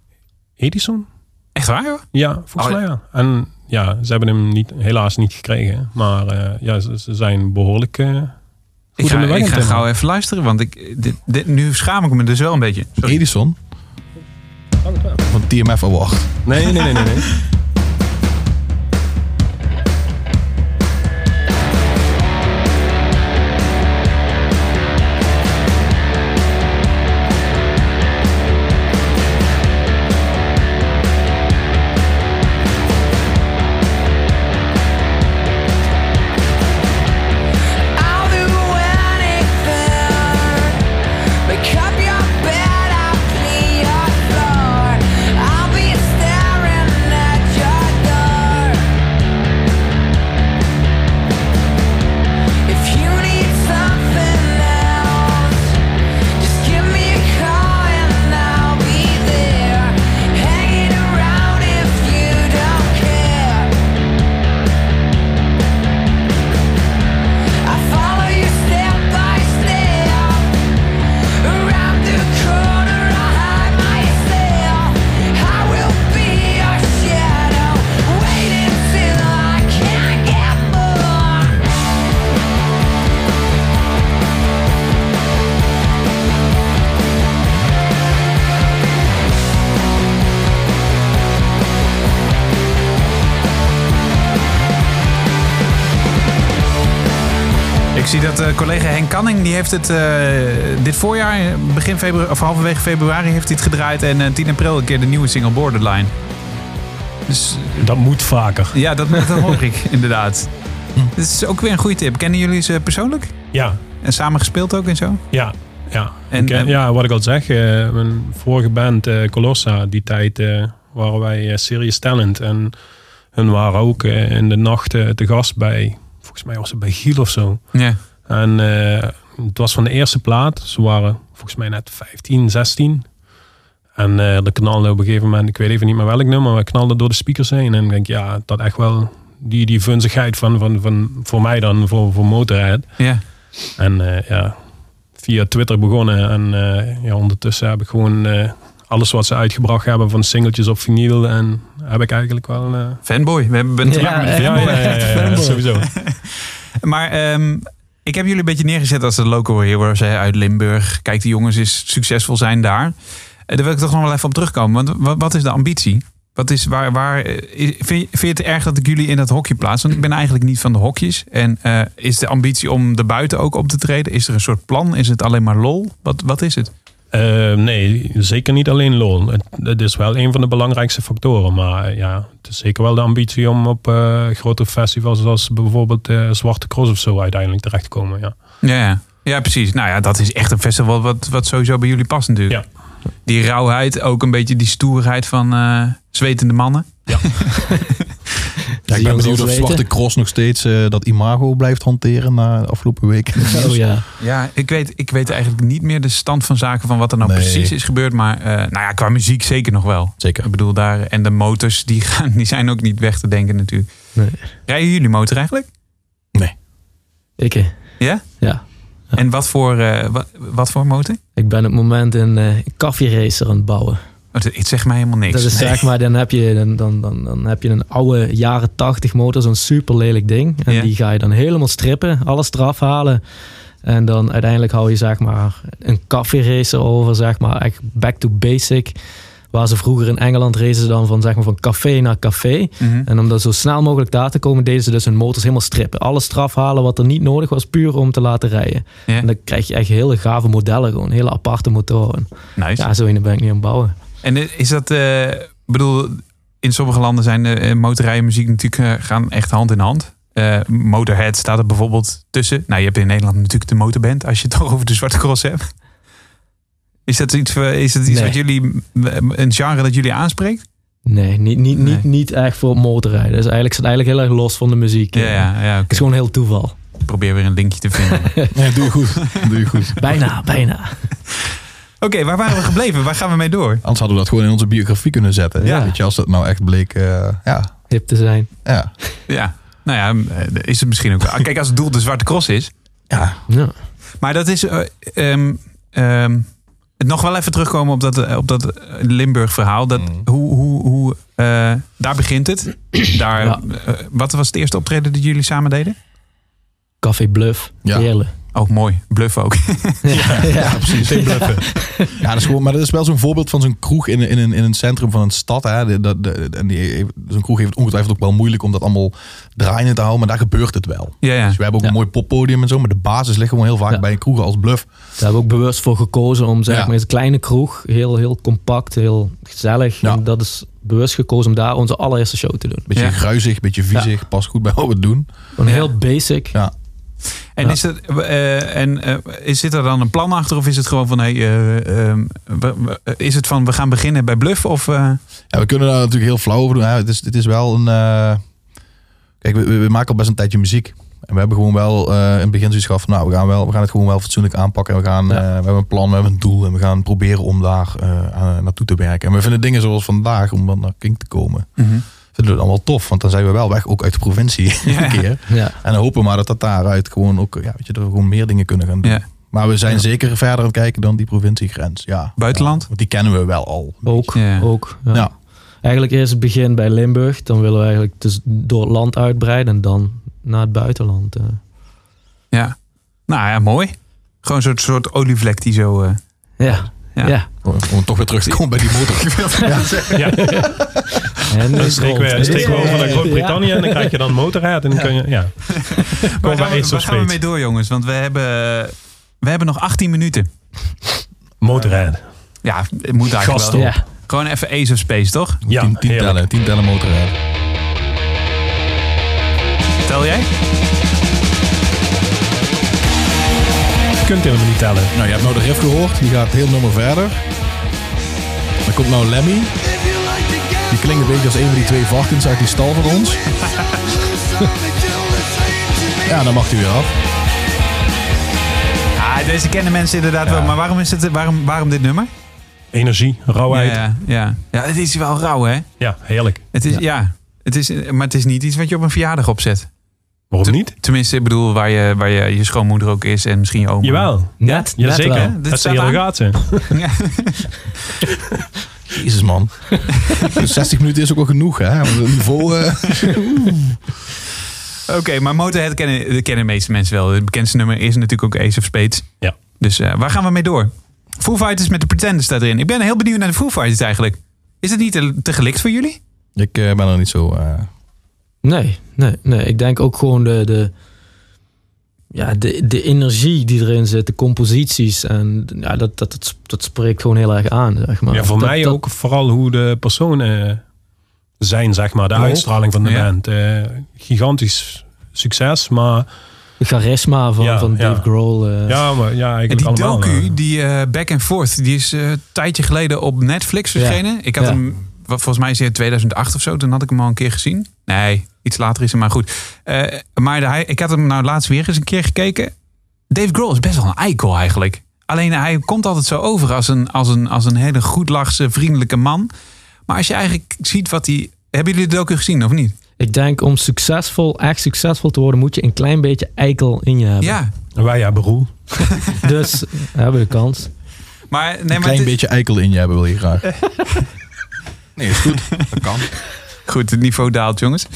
S5: Edison.
S2: Echt waar, hoor?
S5: Ja, volgens
S2: Oh, ja.
S5: mij ja. En ja, ze hebben hem niet, helaas niet gekregen. Maar eh, ja, ze, ze zijn behoorlijk... eh,
S2: Ik
S5: Goed
S2: ga,
S5: om de weg
S2: ik
S5: in
S2: ga
S5: te
S2: gauw even luisteren, want ik, dit, dit- nu schaam ik me dus wel een beetje. Sorry.
S4: Edison van TMF Award.
S5: nee, nee, nee, nee, nee.
S8: I'll do anything. Make up your bed, I'll clean your floor. I'll be staring at your door. If you need something else, just give me a call and I'll be there. Hanging around if you don't care. I follow you step by step. Around the corner, I hide myself. I will be your shadow. Wait until I can't get more.
S2: Ik zie dat eh, collega Henk Kanning, die heeft het eh, dit voorjaar, begin februari, of halverwege februari, heeft hij het gedraaid. En eh, 10 april een keer de nieuwe single Borderline. Dus
S5: Dat moet vaker.
S2: ja, dat, dat hoor ik inderdaad. Dit is ook weer een goede tip. Kennen jullie ze persoonlijk?
S5: Ja,
S2: En samen gespeeld ook en zo?
S5: ja. Ja,
S2: En-
S5: Ik, eh,
S2: en-
S5: ja wat ik al zeg, eh, mijn vorige band eh, Colossa, die tijd eh, waren wij eh, Serious Talent. En hun waren ook eh, in de nacht eh, te gast bij, volgens mij was het bij Giel of zo.
S2: Ja.
S5: En eh, het was van de eerste plaat. Ze waren volgens mij net 15, 16. En eh, er knalde op een gegeven moment, ik weet even niet meer welk nummer, maar knalde door de speakers heen. En ik denk, ja, dat echt wel die, die vunzigheid van, van, van, voor mij dan, voor, voor Motorhead.
S2: ja.
S5: En eh, ja, via Twitter begonnen. En eh, ja, ondertussen heb ik gewoon eh, alles wat ze uitgebracht hebben, van singeltjes op vinyl. En heb ik eigenlijk wel... eh,
S2: Fanboy. We hebben een
S6: Ja,
S2: ja, met
S6: echt.
S2: een fanboy.
S5: ja, sowieso.
S2: Maar ehm, ik heb jullie een beetje neergezet als de local heroes hè, uit Limburg. Kijk, die jongens is succesvol zijn daar. Eh, daar wil ik toch nog wel even op terugkomen. Want wat, wat is de ambitie? Wat is, waar, waar, eh, is- vind, je, vind je het erg dat ik jullie in dat hokje plaats? Want ik ben eigenlijk niet van de hokjes. En eh, is de ambitie om erbuiten ook op te treden? Is er een soort plan? Is het alleen maar lol? Wat, wat is het?
S5: Eh, nee, zeker niet alleen loon. Het, het is wel een van de belangrijkste factoren. Maar eh, ja, het is zeker wel de ambitie om op eh, grote festivals zoals bijvoorbeeld eh, Zwarte Cross of zo uiteindelijk terecht te komen. Ja.
S2: Ja, ja. ja, precies. Nou ja, dat is echt een festival wat, wat sowieso bij jullie past natuurlijk. Die rauwheid, ook een beetje die stoerheid van eh, zwetende mannen.
S4: Ja, ik
S6: Zie
S4: ben
S6: ons
S4: benieuwd of
S6: ons
S4: Zwarte
S6: weten.
S4: Cross nog steeds eh, dat imago blijft hanteren na de afgelopen week.
S6: Oh ja.
S2: Ja, ik weet, ik weet eigenlijk niet meer de stand van zaken van wat er nou
S4: Nee.
S2: precies is gebeurd. Maar eh, nou ja, qua muziek zeker nog wel.
S4: Zeker.
S2: Ik bedoel, daar, en de motors die, gaan, die zijn ook niet weg te denken natuurlijk.
S6: Nee.
S2: Rijden jullie motor eigenlijk?
S6: Ik, eh,
S2: Ja?
S6: ja.
S2: En wat voor, eh, wa- wat voor motor?
S6: Ik ben op het moment een eh, een koffieracer aan het bouwen.
S2: Want het zegt mij helemaal niks.
S6: Dat is zeg maar, dan heb, je, dan, dan, dan, dan heb je een oude jaren 80 motor, zo'n super lelijk ding. En
S2: Ja.
S6: die ga je dan helemaal strippen, alles eraf halen. En dan uiteindelijk hou je zeg maar een café-racer over, zeg maar echt back to basic. Waar ze vroeger in Engeland racen ze dan van, zeg maar, van café naar café.
S2: Mhm.
S6: En om dat zo snel mogelijk daar te komen, deden ze dus hun motors helemaal strippen. Alles eraf halen wat er niet nodig was, puur om te laten rijden.
S2: Ja.
S6: En dan krijg je echt hele gave modellen, gewoon hele aparte motoren.
S2: Nice.
S6: Ja, zo in de ben ik niet aan het bouwen.
S2: En eh, is dat, eh, ik bedoel, in sommige landen zijn de eh, motorrijden en muziek natuurlijk eh, gaan echt hand in hand. Eh, Motorhead staat er bijvoorbeeld tussen. Nou, je hebt in Nederland natuurlijk de motorband, als je het toch over de Zwarte Cross hebt. Is dat iets, voor- is dat iets
S6: Nee.
S2: wat jullie, een genre dat jullie aanspreekt?
S6: Nee, niet, niet,
S2: Nee.
S6: Niet, niet echt voor het motorrijden. Dus eigenlijk zit het eigenlijk heel erg los van de muziek.
S2: Ja,
S6: eh.
S2: ja, ja
S6: Het is
S2: oké.
S6: gewoon heel toeval.
S2: ik probeer weer een linkje te vinden. Oké,
S4: Nee, doe je goed. doe je goed.
S6: Bijna, bijna.
S2: waar waren we gebleven? Waar gaan we mee door?
S4: Anders hadden we dat gewoon in onze biografie kunnen zetten.
S6: Ja.
S4: Weet je, als dat nou echt bleek. eh, ja.
S6: Hip te zijn.
S4: Ja.
S2: Ja, nou ja, eh, is het misschien ook wel. Kijk, als het doel de Zwarte Cross is,
S4: ja.
S6: Ja.
S2: Maar dat is. eh, ehm, ehm, het nog wel even terugkomen op dat, eh, op dat Limburg-verhaal. Dat,
S4: Mm.
S2: Hoe. hoe, hoe eh, daar begint het. Daar,
S6: Ja.
S2: eh, wat was het eerste optreden dat jullie samen deden?
S6: Café Bluff.
S4: Ja.
S6: Heerlijk.
S2: Oh, mooi. Bluff ook.
S6: Ja, ja.
S4: precies. Ja, dat is gewoon, maar dat is wel zo'n voorbeeld van zo'n kroeg in, in, in, in een centrum van een stad. Hè. De- dat- de- en die, heeft- zo'n kroeg heeft het ongetwijfeld ook wel moeilijk om dat allemaal draaiende te houden. Maar daar gebeurt het wel.
S2: ja, ja.
S4: Dus we hebben ook
S6: Ja.
S4: een mooi poppodium en zo. Maar de basis ligt gewoon heel vaak
S6: Ja.
S4: bij een kroeg als bluff.
S6: Daar hebben we ook bewust voor gekozen om zeg
S4: Ja.
S6: maar, het kleine kroeg, heel, heel compact, heel gezellig.
S4: Ja.
S6: En dat is bewust gekozen om daar onze allereerste show te doen.
S4: Beetje
S2: Ja.
S4: gruizig, beetje viezig. Past goed bij wat we doen.
S6: Gewoon
S2: Ja.
S6: heel basic.
S4: Ja.
S2: En,
S6: Ja.
S2: Is dat, eh, en eh, is, zit er dan een plan achter? Of is het gewoon van. Hey, eh, ehm, we- we- is het van we gaan beginnen bij Bluff? Of, eh,
S4: Ja, we kunnen daar natuurlijk heel flauw over doen. Ja, het, is, het is wel een... eh, Kijk, we, we we maken al best een tijdje muziek. En we hebben gewoon wel eh, in het begin zoiets gehad van... Nou, we gaan, wel, we gaan het gewoon wel fatsoenlijk aanpakken. En we, gaan,
S6: Ja.
S4: eh, we hebben een plan, we hebben een doel. En we gaan proberen om daar eh, aan- naartoe te werken. En we vinden dingen zoals vandaag, om dan naar King te komen...
S2: Mhm.
S4: Vinden we dan wel tof. Want dan zijn we wel weg, ook uit de provincie
S2: Ja.
S4: een keer.
S6: Ja.
S4: En dan hopen we maar dat dat daaruit gewoon ook... Ja, weet je, dat we gewoon meer dingen kunnen gaan doen.
S2: Ja.
S4: Maar we zijn zeker verder aan het kijken dan die provinciegrens. Ja.
S2: Buitenland?
S4: Ja, want die kennen we wel al.
S6: Ook,
S2: Ja.
S6: ook. ja.
S4: Ja.
S6: Eigenlijk eerst het begin bij Limburg. Dan willen we eigenlijk dus door het land uitbreiden en dan naar het buitenland. eh.
S2: ja. Nou ja, mooi. Gewoon zo'n soort olievlek die zo. eh,
S6: Ja.
S2: Ja.
S6: Ja.
S4: Om om toch weer terug te komen bij die motor.
S5: Ja,
S6: En
S5: dan
S6: is
S5: steken
S6: rond.
S5: we, steken we over naar
S6: Ja.
S5: Groot-Brittannië en dan krijg je dan motorhead. En dan kun je, ja.
S2: Waar
S5: Kom
S2: gaan,
S5: bij
S2: we,
S5: Ace
S2: waar
S5: of
S2: gaan we mee
S5: Spades.
S2: door, jongens? Want we hebben, we hebben nog 18 minuten.
S5: Motorhead.
S2: Ja, het moet eigenlijk
S5: Gast
S2: wel.
S5: op.
S6: Ja.
S2: Gewoon even Ace of Space, toch?
S5: Ja,
S4: tien, tien
S5: heerlijk.
S4: tellen, tien tellen motorrijden.
S2: Tel jij?
S5: kunt helemaal niet tellen.
S4: Nou, je hebt nou de riff gehoord. Die gaat heel nummer verder. Dan komt nou Lemmy. Die klinkt een beetje als een van die twee varkens uit die stal van ons. Ja, dan mag hij weer af.
S2: Ah, deze kennen mensen inderdaad wel. Maar waarom, is het, waarom, waarom dit nummer?
S5: Energie, rauwheid. Ja,
S2: Ja, ja. ja, het is wel rauw, hè?
S5: heerlijk.
S2: Het is, ja. Het is, maar het is niet iets wat je op een verjaardag opzet.
S5: Waarom niet?
S2: Tenminste, ik bedoel, waar je, waar je, je schoonmoeder ook is en misschien je oma.
S5: Jawel.
S6: Net, net wel.
S5: Jazeker.
S2: Dit staat
S5: Dat zijn
S2: aan.
S5: gaten.
S2: Ja.
S4: Jezus, man. 60 minuten is ook wel genoeg, hè? Om het niveau... eh,
S2: Oké, maar Motorhead kennen, dat kennen de meeste mensen wel. Het bekendste nummer is natuurlijk ook Ace of Spades.
S5: Ja.
S2: Dus eh, waar gaan we mee door? Foo Fighters met de Pretender staat erin. Ik ben heel benieuwd naar de Foo Fighters eigenlijk. Is het niet te, te gelikt voor jullie?
S4: Ik eh, ben er niet zo... eh,
S6: Nee, nee, nee. Ik denk ook gewoon de, de, ja, de, de energie die erin zit, de composities. En ja, dat, dat, dat, dat spreekt gewoon heel erg aan, zeg maar.
S5: Ja, voor
S6: Dat-
S5: mij
S6: dat-
S5: ook vooral hoe de personen eh, zijn, zeg maar. De uitstraling van de
S2: Ja.
S5: band. Eh, gigantisch succes, maar
S6: Het charisma van,
S5: Ja,
S6: van Dave
S5: ja.
S6: Grohl. eh,
S5: ja, maar, ja
S2: En
S5: eigenlijk
S2: die
S5: allemaal.
S2: docu,
S5: eh,
S2: die eh, Back and Forth, die is eh, een tijdje geleden op Netflix
S6: Ja.
S2: verschenen. Ik had
S6: Ja.
S2: hem, wat, volgens mij is hij uit 2008 of zo, toen had ik hem al een keer gezien. Nee, iets later is hij maar goed. Eh, maar de- hij, ik had hem nou laatst weer eens een keer gekeken. Dave Grohl is best wel een eikel eigenlijk. Alleen hij komt altijd zo over als een, als een, als een hele goedlachse, vriendelijke man. Maar als je eigenlijk ziet wat hij... Hebben jullie de docu gezien of niet?
S6: Ik denk om succesvol, echt succesvol te worden, moet je een klein beetje eikel in je hebben.
S2: Ja,
S5: eh, Wij hebben Roel.
S6: Dus hebben we de kans.
S2: maar... Nee, maar
S4: een klein
S2: het-
S4: beetje eikel in je hebben wil je graag. Nee, is goed. Dat kan.
S2: Goed, het niveau daalt, jongens.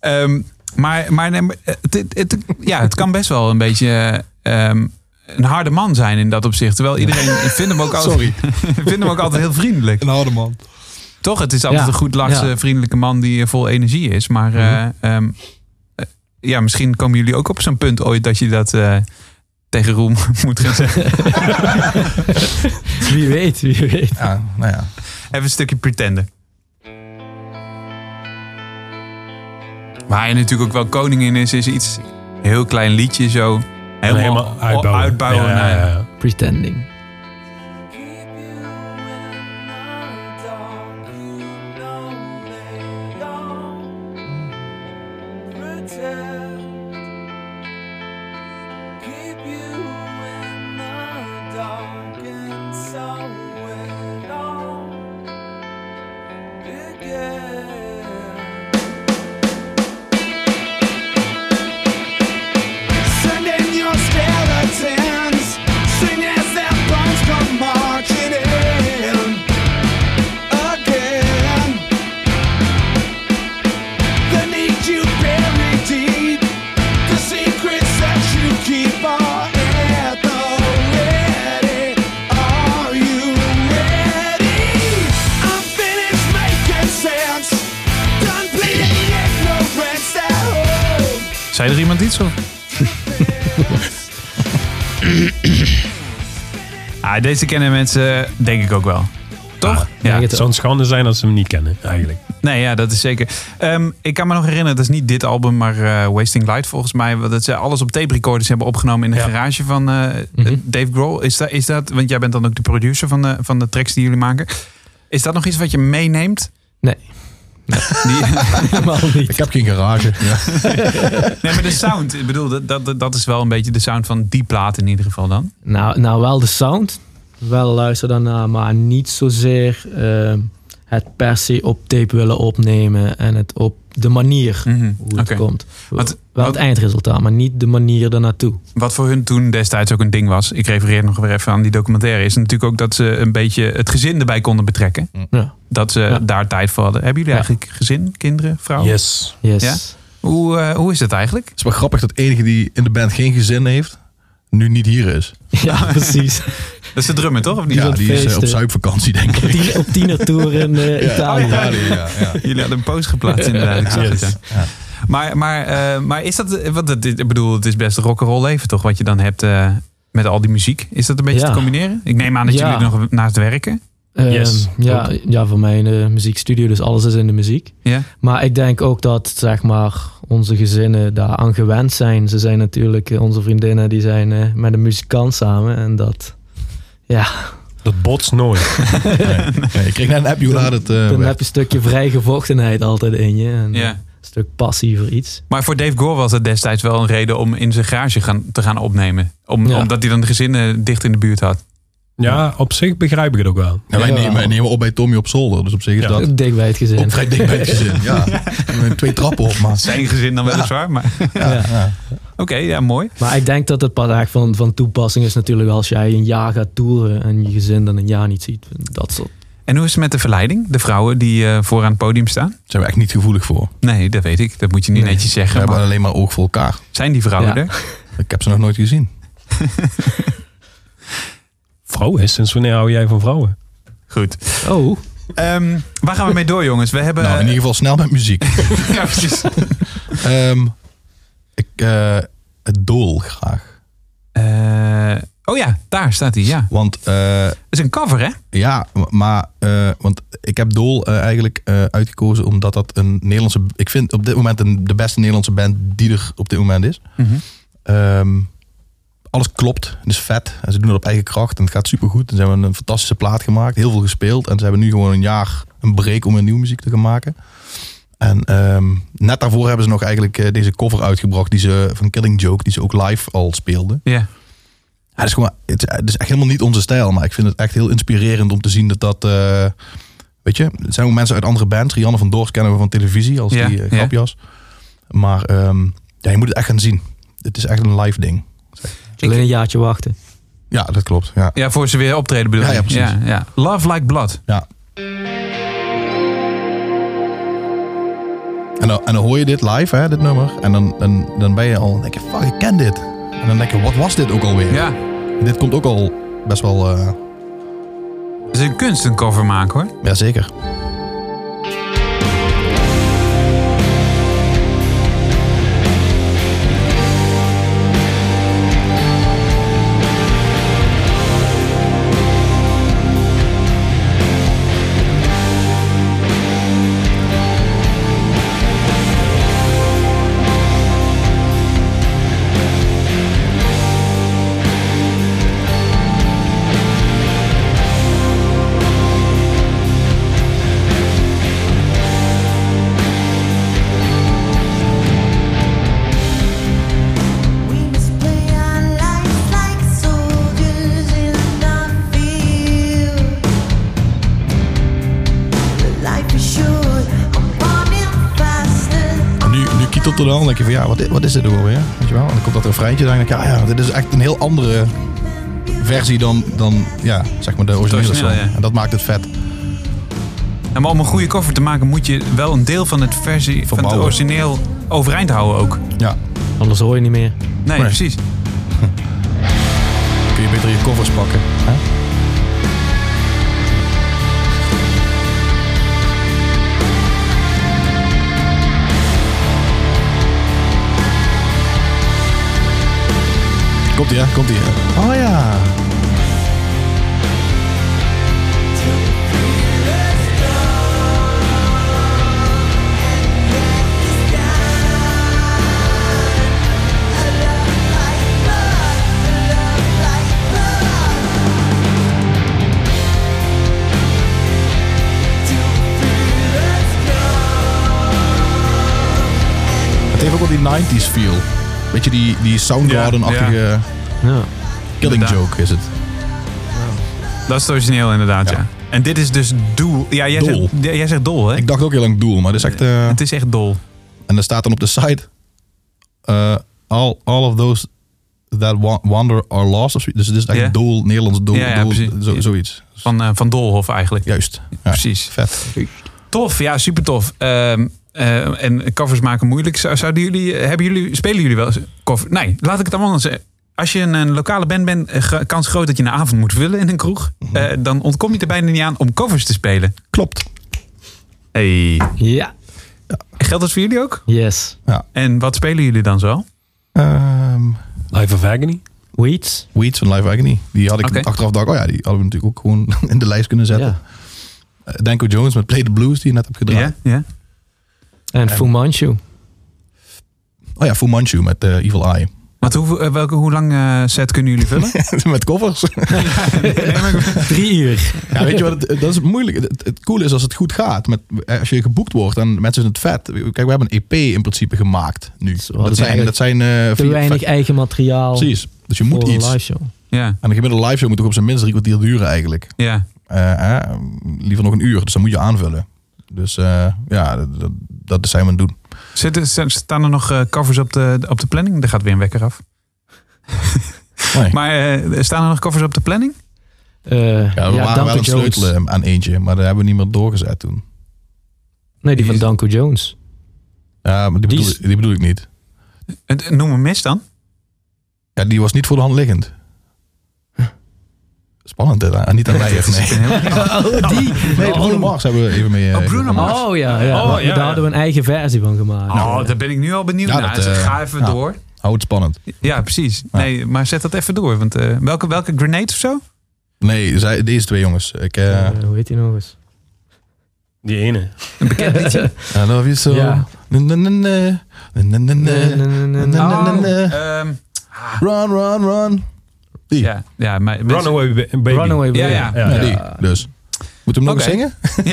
S2: Ehm, maar maar nee, maar eh, het, het, het- ja, het kan best wel een beetje ehm, een harde man zijn in dat opzicht. Terwijl iedereen vindt hem ook altijd,
S4: Sorry.
S2: vindt hem ook altijd heel vriendelijk.
S4: Een oude man.
S2: Toch? Het is altijd
S6: Ja,
S2: een goed lachse,
S6: ja. Mhm.
S2: vriendelijke man die eh, vol energie is. Maar eh, ehm, eh, ja, misschien komen jullie ook op zo'n punt ooit dat je dat eh, tegen Roel moet gaan zeggen.
S6: Wie weet, wie weet.
S4: Ja, nou ja.
S2: Even een stukje pretenden. Waar hij natuurlijk ook wel koning in is, is iets heel klein liedje zo.
S5: En
S2: Helemaal,
S5: helemaal uitbouwen.
S2: uitbouwen
S5: Ja,
S2: naar-
S5: ja, ja.
S6: Pretending.
S7: Yeah.
S9: Send in your skeletons. Sing as their bones come marching in again. They need you buried deep. The secrets that you keep are at the ready. Are you ready? I'm finished making sense. Done bleeding ignorance at home.
S2: Zei er iemand iets van? ah, deze kennen mensen denk ik ook wel. Toch?
S6: denk
S5: Ah, Het
S6: het
S5: zou een schande zijn dat ze hem niet kennen, eigenlijk.
S2: Nee, ja, dat is zeker. Ehm, ik kan me nog herinneren, dat is niet dit album, maar eh, Wasting Light volgens mij. Dat ze alles op tape recorders hebben opgenomen in de
S5: Ja.
S2: garage van eh, Dave Grohl. Is, dat is dat, want jij bent dan ook de producer van de, van de tracks die jullie maken. Is dat nog iets wat je meeneemt?
S6: Nee,
S2: Die,
S6: helemaal
S4: Ik
S6: niet.
S4: heb geen garage. Ja.
S2: nee, maar de sound, ik bedoel, dat, dat, dat is wel een beetje de sound van die plaat in ieder geval dan.
S6: Nou, nou wel de sound. Wel luister daarna, maar niet zozeer ehm, het per se op tape willen opnemen en het op de manier hoe het
S2: Oké.
S6: komt.
S2: Wat-
S6: wel
S2: wat-
S6: het eindresultaat, maar niet de manier daarnaartoe.
S2: Wat voor hun toen destijds ook een ding was, ik refereer nog weer even aan die documentaire, is natuurlijk ook dat ze een beetje het gezin erbij konden betrekken.
S6: Ja.
S2: Dat ze
S6: Ja.
S2: daar tijd voor hadden. Hebben jullie
S6: Ja.
S2: eigenlijk gezin, kinderen, vrouwen?
S5: Yes.
S6: Yes.
S2: Ja? Hoe, eh, hoe is het eigenlijk?
S4: Het is wel grappig dat de enige die in de band geen gezin heeft, nu niet hier is.
S6: Ja, precies.
S2: Dat is de drummer, toch? Of niet?
S4: Ja,
S6: op
S4: die is eh, op
S6: feesten.
S4: zuipvakantie, denk ik.
S6: Tien, op tienertour in eh, Italië.
S4: Ja, die- ja, ja.
S2: Jullie hadden een post geplaatst inderdaad. Ik zag het, ja. Maar, maar, eh, maar is dat... eh, Wat, het- ik bedoel, het is best een rock'n'roll leven toch? Wat je dan hebt eh, met al die muziek. Is dat een beetje
S6: Ja.
S2: te combineren? Ik neem aan dat
S6: Ja.
S2: jullie nog naast werken.
S6: Ehm,
S5: Yes,
S6: ja, ja, voor mij in de muziekstudio, dus alles is in de muziek.
S2: Ja?
S6: Maar ik denk ook dat zeg maar, onze gezinnen daar aan gewend zijn. Ze zijn natuurlijk, eh, onze vriendinnen, die zijn eh, met een muzikant samen. En dat, ja,
S5: Dat botst nooit.
S4: Nee, ik kreeg net een appje hoe laat het eh,
S6: dan
S4: werd.
S6: heb je een stukje vrijgevochtenheid altijd in je. En eh,
S2: Ja.
S6: Een stuk passie voor iets.
S2: Maar voor Dave Gore was dat destijds wel een reden om in zijn garage gaan, te gaan opnemen. Om,
S6: Ja.
S2: Omdat hij dan de gezinnen dicht in de buurt had.
S5: Ja, op zich begrijp ik het ook wel.
S4: Ja, wij, nemen, wij nemen op bij Tommy op zolder, dus op zich is
S5: Ja.
S4: dat
S6: Dik bij het gezin.
S4: ook vrij dik bij het gezin. Ja. Met Twee trappen op, maar
S2: Zijn gezin dan weliswaar, maar...
S4: ja, ja.
S2: Oké, ja, mooi.
S6: Maar ik denk dat het pas echt van, van toepassing is natuurlijk wel als jij een jaar gaat toeren en je gezin dan een jaar niet ziet. Dat soort.
S2: En hoe is het met de verleiding? De vrouwen die eh, vooraan het podium staan?
S4: zijn we echt niet gevoelig voor.
S2: Nee, dat weet ik. Dat moet je niet
S6: Nee.
S2: netjes
S4: We
S2: zeggen.
S4: hebben
S2: maar
S4: alleen maar oog voor elkaar.
S2: zijn die vrouwen
S6: Ja.
S2: er?
S4: Ik heb ze nog nooit gezien.
S5: Vrouwen, sinds wanneer hou jij van vrouwen?
S2: Goed.
S6: Oh,
S2: Ehm, waar gaan we mee door, jongens? We hebben...
S4: Nou, in ieder geval snel met muziek.
S2: ja, precies.
S4: Ehm, ik, eh, het doel graag.
S2: Eh, oh ja, daar staat hij, ja.
S4: Want eh,
S2: Dat is een cover, hè?
S4: ja, maar eh, want ik heb Dool eh, eigenlijk eh, uitgekozen omdat dat een Nederlandse. Ik vind op dit moment een, de beste Nederlandse band die er op dit moment is.
S2: Mhm.
S4: Ehm, alles klopt, het is vet. En ze doen het op eigen kracht en het gaat supergoed. En ze hebben een fantastische plaat gemaakt, heel veel gespeeld. En ze hebben nu gewoon een jaar een break om een nieuwe muziek te gaan maken. En ehm, net daarvoor hebben ze nog eigenlijk eh, deze cover uitgebracht die ze, van Killing Joke, die ze ook live al speelden.
S2: Ja.
S4: Ja, het, is gewoon, het, is- het is echt helemaal niet onze stijl, maar ik vind het echt heel inspirerend om te zien dat dat... eh, weet je, het zijn ook mensen uit andere bands. Rianne van Doors kennen we van televisie als
S2: Ja,
S4: die eh,
S2: ja.
S4: grapjas. Maar ehm, ja, je moet het echt gaan zien. Het is echt een live ding.
S6: alleen een jaartje wachten.
S4: Ja, dat klopt. Ja.
S2: Ja, voor ze weer optreden bedoel
S4: Ja,
S2: je?
S4: ja, precies.
S2: Ja, ja. Love Like Blood.
S4: Ja. En dan, en dan hoor je dit live, hè, dit nummer. En dan, dan, dan ben je al, dan denk je, fuck, ik ken dit. En dan denk je, wat was dit ook alweer?
S2: Ja.
S4: Dit komt ook al best wel, eh,
S2: Het is een kunst, een cover maken, hoor.
S4: ja zeker.
S10: We must play our lives like soldiers in our field. life is short, I'm running faster.
S4: En nu, nu kietelt er dan, dan denk je van, ja, wat, i- wat is dit ook alweer? Weet je wel? En dan komt dat refreintje, dan denk ik, ja, ja, dit is echt een heel andere versie dan, dan ja, zeg maar de originele song.
S2: origineel, ja.
S4: En dat maakt het vet.
S2: En maar om een goede cover te maken moet je wel een deel van het versie van het
S4: Verbouwen.
S2: origineel overeind houden ook. Nee,
S4: Ja,
S6: Anders hoor je niet meer.
S2: precies.
S4: kun je beter je covers pakken. Hè? Komt ie, hè? Komt ie. Oh ja. Het heeft ook wel die 90s feel. Weet je, die, die Soundgarden-achtige
S6: Ja.
S4: killing
S2: Inderdaad.
S4: joke is het.
S2: Dat is het origineel inderdaad, ja.
S4: Ja.
S2: En dit is dus doel. Ja, jij,
S4: Dol.
S2: Zegt, jij zegt dol, hè?
S4: Ik dacht ook heel lang doel, maar dit is echt... eh,
S2: Het is echt dol.
S4: En er staat dan op de site... eh, all, all of those that wa- wander are lost. Of zoiets. dus het is
S2: Ja.
S4: echt doel, Nederlands doel,
S2: Ja, ja,
S4: doel,
S2: precies.
S4: zo- zoiets.
S2: Van, eh, van Dolhof eigenlijk.
S4: Juist. Ja,
S2: Precies.
S4: Vet.
S2: Tof, ja, super tof. Ehm, eh, en covers maken moeilijk. Zou- Zouden jullie, eh, hebben jullie, spelen jullie wel eens cover? Nee, laat ik het allemaal zeggen. Als je een, een lokale band bent, eh, ge- kans groot dat je een avond moet vullen in een kroeg.
S4: Mhm.
S2: Eh, dan ontkom je er bijna niet aan om covers te spelen.
S4: Klopt.
S2: Hey.
S6: Ja.
S2: Geldt dat voor jullie ook?
S6: Yes.
S2: En wat spelen jullie dan zo?
S4: Ehm,
S5: Life of Agony?
S6: Weeds.
S4: Weeds van Live Agony. Die had ik
S2: Oké.
S4: achteraf dacht, oh ja, die hadden we natuurlijk ook gewoon in de lijst kunnen zetten.
S6: Ja.
S4: Eh, Danko Jones met Play the Blues, die je net hebt gedraaid.
S2: Ja, ja.
S6: En Fu Manchu.
S4: Oh ja, Fu Manchu met eh, Evil Eye.
S2: Wat, hoe, eh, welke, hoe lang eh, set kunnen jullie vullen?
S4: met covers.
S6: Drie uur.
S4: Ja, weet je wat, het, dat is moeilijk. Het, het coole is als het goed gaat. Met, eh, als je geboekt wordt en mensen in het vet. Kijk, we hebben een EP in principe gemaakt nu.
S6: Zo,
S4: Dat
S6: dus
S4: zijn, dat zijn eh,
S6: Te
S4: vier-
S6: weinig eigen materiaal
S4: Precies. Dus je moet
S6: voor een
S4: iets.
S6: live show.
S2: ja,
S4: En een gemiddelde live show moet toch op zijn minst drie kwartier duren eigenlijk.
S2: ja.
S4: Eh, eh, liever nog een uur, dus dan moet je aanvullen. Dus eh, ja, dat, dat, dat zijn we aan het doen.
S2: Zitten, st- staan er nog eh, covers op de, op de planning? Daar gaat weer een wekker af.
S4: Nee.
S2: Maar eh, staan er nog covers op de planning?
S6: Eh,
S4: ja, we waren wel aan het sleutelen aan eentje, maar daar hebben we niet meer doorgezet toen.
S6: Nee, die van Danko Jones.
S4: Ja, maar die,
S6: Die
S4: bedoel,
S6: is-
S4: die bedoel ik niet.
S2: Eh, Noem hem mis dan.
S4: Ja, die was niet voor de hand liggend. Spannend, hè? Ah, Niet aan mij,
S2: Dat is
S4: nee.
S2: een heel-
S6: Oh, die!
S4: Nee, Bruno Mars hebben we even mee. eh,
S2: Oh, Bruno Mars.
S6: Oh ja, ja.
S5: Oh,
S6: Maar
S5: ja.
S6: Daar hadden we een eigen versie van gemaakt.
S4: Nou,
S2: Oh, daar ben ik nu al benieuwd
S4: Ja,
S2: naar.
S4: dat,
S2: Zeg,
S4: eh,
S2: ga even
S4: ja.
S2: door.
S4: Hou het spannend.
S2: Ja, precies. Nee, maar zet dat even door. Want eh, welke, welke grenade of zo?
S4: Nee, zij, deze twee jongens. Ik, eh
S6: Eh, hoe heet die nog eens?
S5: Die ene.
S4: I love you so.
S6: Ja.
S4: Na, na, na, na. Na, na, na,
S6: Nee, nee,
S4: na.
S6: nee, nee,
S4: Na, na, na,
S2: Oh,
S4: na.
S2: ehm,
S4: Run, run, run. Die. Ja,
S2: ja, ja, maar,
S5: Runaway Ba- Baby.
S6: Runaway Baby.
S2: Ja, ja.
S5: Ja, ja.
S4: die. Dus. Moeten we hem
S2: Oké.
S4: nog eens zingen?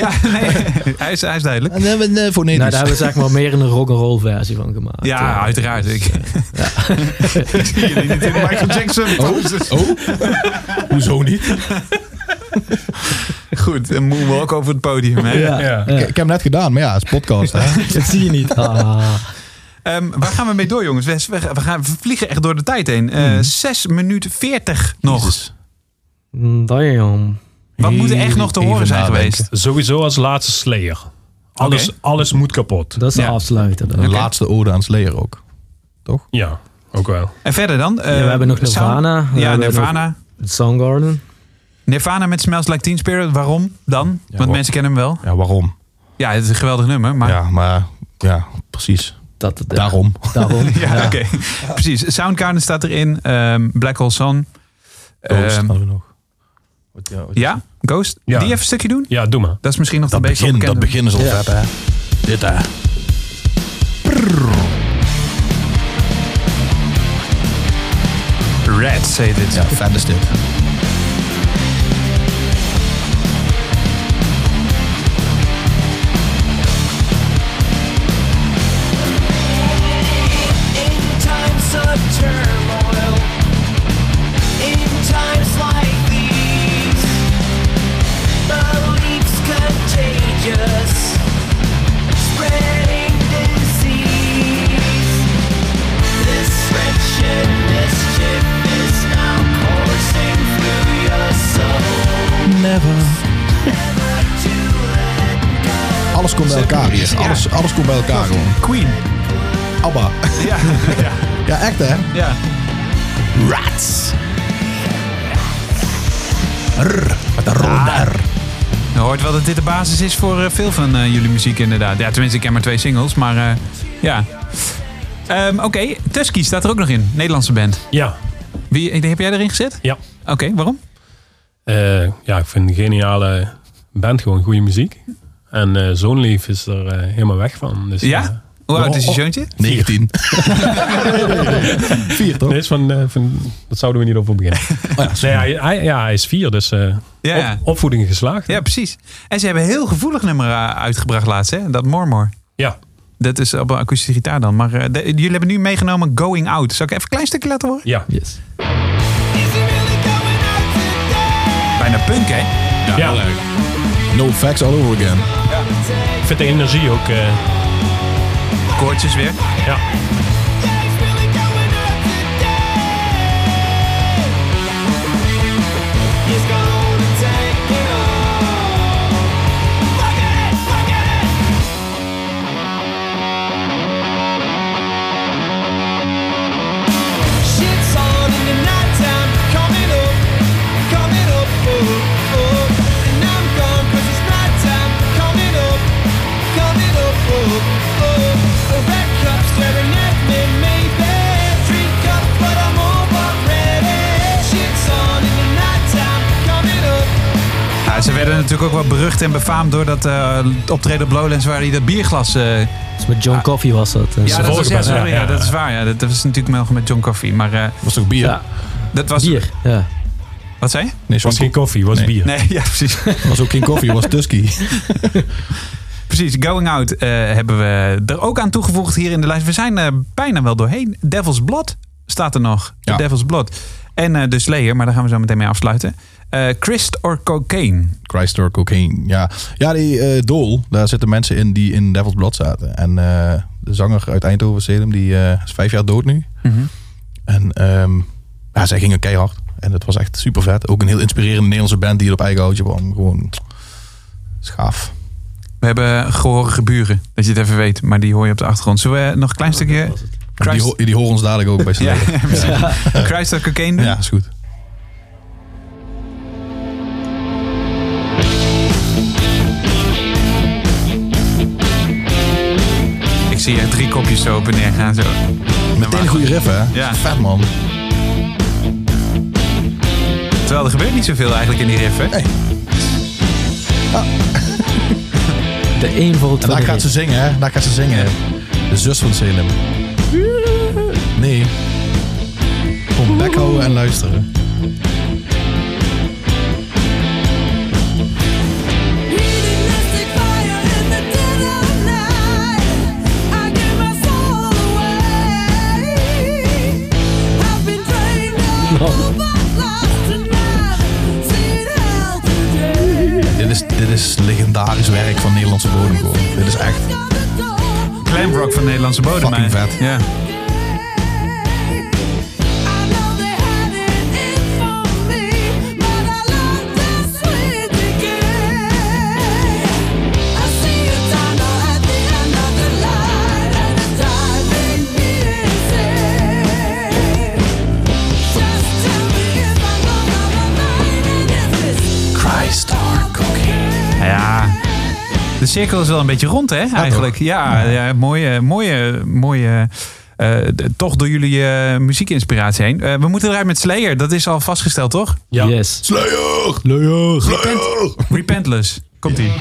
S2: Ja, nee, hij, is, hij is duidelijk.
S4: En hebben we voor
S6: Nou, daar hebben we zeg maar meer een rock'n'roll versie van gemaakt.
S2: Ja,
S6: Eh,
S2: uiteraard.
S6: dus,
S2: Ik,
S6: eh,
S2: ik zie jullie niet in de Michael Jackson.
S4: Oh? Hoezo niet?
S2: Goed, een moonwalk over het podium. Hè?
S6: ja,
S5: Ja.
S6: ja.
S4: Ik, ik heb hem net gedaan, maar ja, het is podcast. Hè?
S6: Dat zie je niet. Ah.
S2: Ehm, waar gaan we mee door, jongens? We, we, we gaan, we vliegen echt door de tijd heen. Eh 6 minuten 40 nog.
S4: Jezus.
S6: Damn.
S2: Wat moet er echt nog te horen
S4: Even
S2: zijn
S4: nadenken.
S2: geweest?
S5: Sowieso als laatste Slayer. Alles,
S2: Oké.
S5: alles moet kapot.
S6: Dat is de
S2: Ja.
S6: afsluiter dan.
S4: De laatste ode aan Slayer ook.
S5: Ja, ook wel.
S2: En verder dan? eh,
S6: Ja, we hebben nog
S2: sound-
S6: Nirvana. We
S2: Ja,
S6: hebben
S2: Nirvana.
S6: nog Soundgarden.
S2: Nirvana met Smells Like Teen Spirit. Waarom dan? Want
S4: wa-
S2: mensen kennen hem wel.
S4: Ja, waarom?
S2: Ja, het is een geweldig nummer. Maar...
S4: Ja, maar ja, precies.
S6: Dat, ja,
S4: Daarom.
S6: Daarom.
S2: Ja, oké. Precies. Soundgarden staat erin. ehm, Black Hole Sun.
S4: Ghost
S2: Ehm,
S4: hadden we nog. Wat- ja, wat-
S2: ja, Ghost.
S5: Ja.
S2: Die even een stukje doen?
S5: Ja, doe maar.
S2: Dat is misschien nog
S4: Dat,
S2: een beetje
S4: begin, dat
S2: onbekender.
S4: begin is al
S6: Ja.
S4: vet, hè? Dit, hè?
S2: Red, zei dit.
S4: Ja, vet is dit.
S3: Mischief is now coursing through your soul.
S4: Alles komt bij elkaar hier. Alles, alles komt bij elkaar gewoon.
S2: Queen.
S4: Abba.
S2: Ja, ja,
S4: Ja, echt hè?
S2: ja.
S4: Rats. Rrr, met een rode R.
S2: Je hoort wel dat dit de basis is voor eh, veel van eh, jullie muziek inderdaad. Ja, tenminste, ik ken maar twee singles, maar eh, ja. Ehm, Oké, Tusky staat er ook nog in. Nederlandse band.
S5: Ja.
S2: Wie, ik denk, heb jij erin gezet?
S5: Ja.
S2: Oké, waarom?
S5: Eh, ja, ik vind een geniale band gewoon goede muziek. En eh Zo'n Lief is er eh, helemaal weg van. Dus,
S2: Ja?
S5: eh,
S2: Hoe oud is je
S4: Oh.
S2: zoontje?
S4: 19. Vier toch?
S5: nee, is van, eh, van, dat zouden we niet over beginnen.
S4: Oh
S5: nee, hij, hij- ja, hij is vier, dus eh,
S2: Ja, ja.
S5: op- opvoeding geslaagd.
S2: Ja, precies. En ze hebben een heel gevoelig nummer eh, uitgebracht laatst, hè? Dat Mormor.
S5: Ja.
S2: Dat is op een akoestische gitaar dan. Maar eh, de- jullie hebben nu meegenomen Going Out. Zal ik even een klein stukje laten horen?
S5: Ja.
S6: Yes.
S2: Bijna punk, hè?
S5: Ja,
S4: No facts all over again.
S5: Ik vind de energie ook... eh,
S2: Koortjes weer.
S5: ja.
S3: oh, Coming up, oh, oh, the red cup staring at me.
S2: ze werden natuurlijk ook wel berucht en befaamd door dat eh, optreden op Lowlands waar hij dat bierglas... eh,
S6: Dus met John Coffey was dat. eh,
S2: ja, dat was, ja,
S5: voorgebed.
S2: sorry,
S5: Ja,
S2: ja,
S5: ja,
S2: dat
S5: ja.
S2: is waar. Ja. Dat, dat was natuurlijk nog met John Coffey. Maar eh,
S4: was toch bier?
S6: ja,
S2: dat was...
S6: bier. Ja.
S2: Wat zei je?
S4: Nee,
S5: was geen koffie, was
S4: Nee.
S5: bier.
S2: Nee, ja, precies.
S4: was ook geen koffie, was Tusky.
S2: Precies, Going Out eh, hebben we er ook aan toegevoegd hier in de lijst. We zijn eh, bijna wel doorheen. Devil's Blood staat er nog. De
S4: Ja.
S2: Devil's Blood. En eh, de Slayer, maar daar gaan we zo meteen mee afsluiten. Eh Christ or Cocaine.
S4: Christ or cocaine. Ja, ja die eh Dool, daar zitten mensen in die in Devil's Blood zaten. En eh, de zanger uit Eindhoven, Sedum, die eh, is vijf jaar dood nu. En ehm, ja, zij gingen keihard. En dat was echt super vet. Ook een heel inspirerende Nederlandse band die het op eigen houtje kwam. Gewoon schaaf.
S2: We hebben gehoorige buren, dat je het even weet. Maar die hoor je op de achtergrond. Zullen we nog een klein stukje...
S4: Die,
S2: Christ,
S4: ho- die horen ons dadelijk ook bij z'n
S2: ja,
S4: allen.
S2: precies. Christ or Cocaine doen?
S4: Ja, is goed.
S2: Ik zie er drie kopjes zo op en neer gaan. Zo.
S4: Meteen een goede riff, hè?
S2: Ja.
S4: Vet, man.
S2: Terwijl er gebeurt niet zoveel eigenlijk in die riff, hè?
S4: Nee.
S6: De een voor het
S4: En daar gaat ze zingen, hè? Daar gaat ze zingen. De zus van Salem. Nee. Gewoon bek houden en luisteren. Dit is, dit is legendarisch werk van Nederlandse bodem gewoon. Dit is echt
S2: Glam rock van Nederlandse bodem.
S4: Fucking
S2: hè?
S4: vet.
S2: Ja.
S4: Christ or cocaine.
S2: Ja. De cirkel is wel een beetje rond, hè? Eigenlijk. Ja, ja, mooie, mooie, mooie. eh, d- toch door jullie eh, muziekinspiratie heen. Eh, we moeten eruit met Slayer, dat is al vastgesteld, toch?
S5: Ja.
S6: Yes.
S4: Slayer! Slayer! Slayer!
S2: Repentless. Komt ie.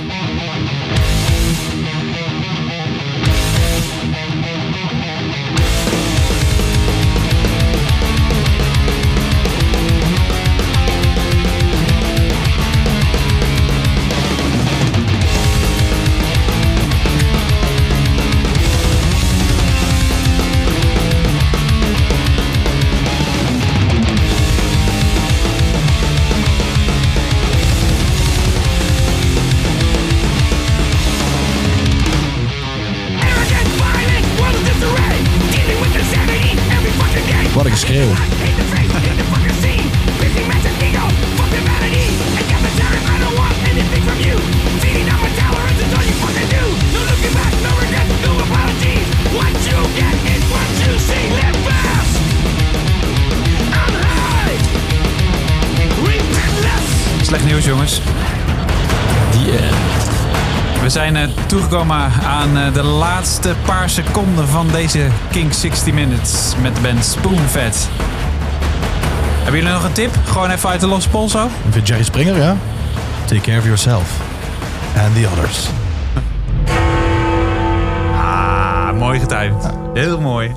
S4: Wat een geschreeuw.
S2: Slecht nieuws, jongens. eh, We zijn eh, toegekomen aan eh, de laatste paar seconden van deze King 60 Minutes met de band Spoonvet. Hebben jullie nog een tip? Gewoon even uit de losse pols zo?
S4: Ik vind Jerry Springer, ja? Take care of yourself. And the others.
S2: Ah, mooi getimed. Heel mooi.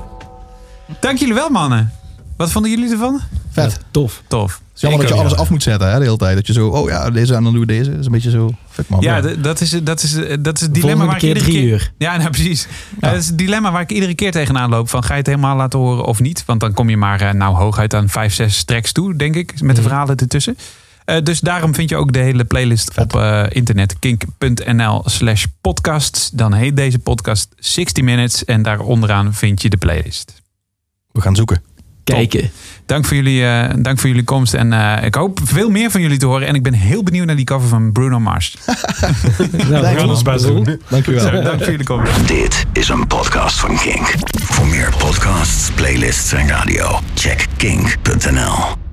S2: Dank jullie wel, mannen. Wat vonden jullie ervan?
S4: Vet.
S6: Tof.
S2: Tof.
S4: Het is jammer dat je alles af moet zetten hè, de hele tijd. Dat je zo, oh ja, deze en dan doen we deze. Dat is een beetje zo, fuck man.
S2: Ja, d- dat is, dat is, eh, dat is het dilemma
S6: Volgende
S2: waar ik
S6: keer
S2: iedere
S6: drie
S2: keer...
S6: uur.
S2: Ja, nou, precies. Ja, dat is het dilemma waar ik iedere keer tegenaan loop. Van, ga je het helemaal laten horen of niet? Want dan kom je maar eh, nou hooguit aan vijf, zes tracks toe, denk ik. Met de verhalen ertussen. Eh, dus daarom vind je ook de hele playlist op eh, internet. kink.nl slash podcasts. Dan heet deze podcast 60 Minutes. En daar onderaan vind je de playlist.
S4: We gaan zoeken.
S6: Kijken.
S2: Dank voor jullie, eh, dank voor jullie komst. En eh, ik hoop veel meer van jullie te horen. En ik ben heel benieuwd naar die cover van Bruno Mars.
S6: Nou,
S5: We gaan ons best doen.
S4: Dankjewel.
S2: Zo, dank voor jullie komst.
S1: Dit is een podcast van Kink. Voor meer podcasts, playlists en radio, check kink.nl.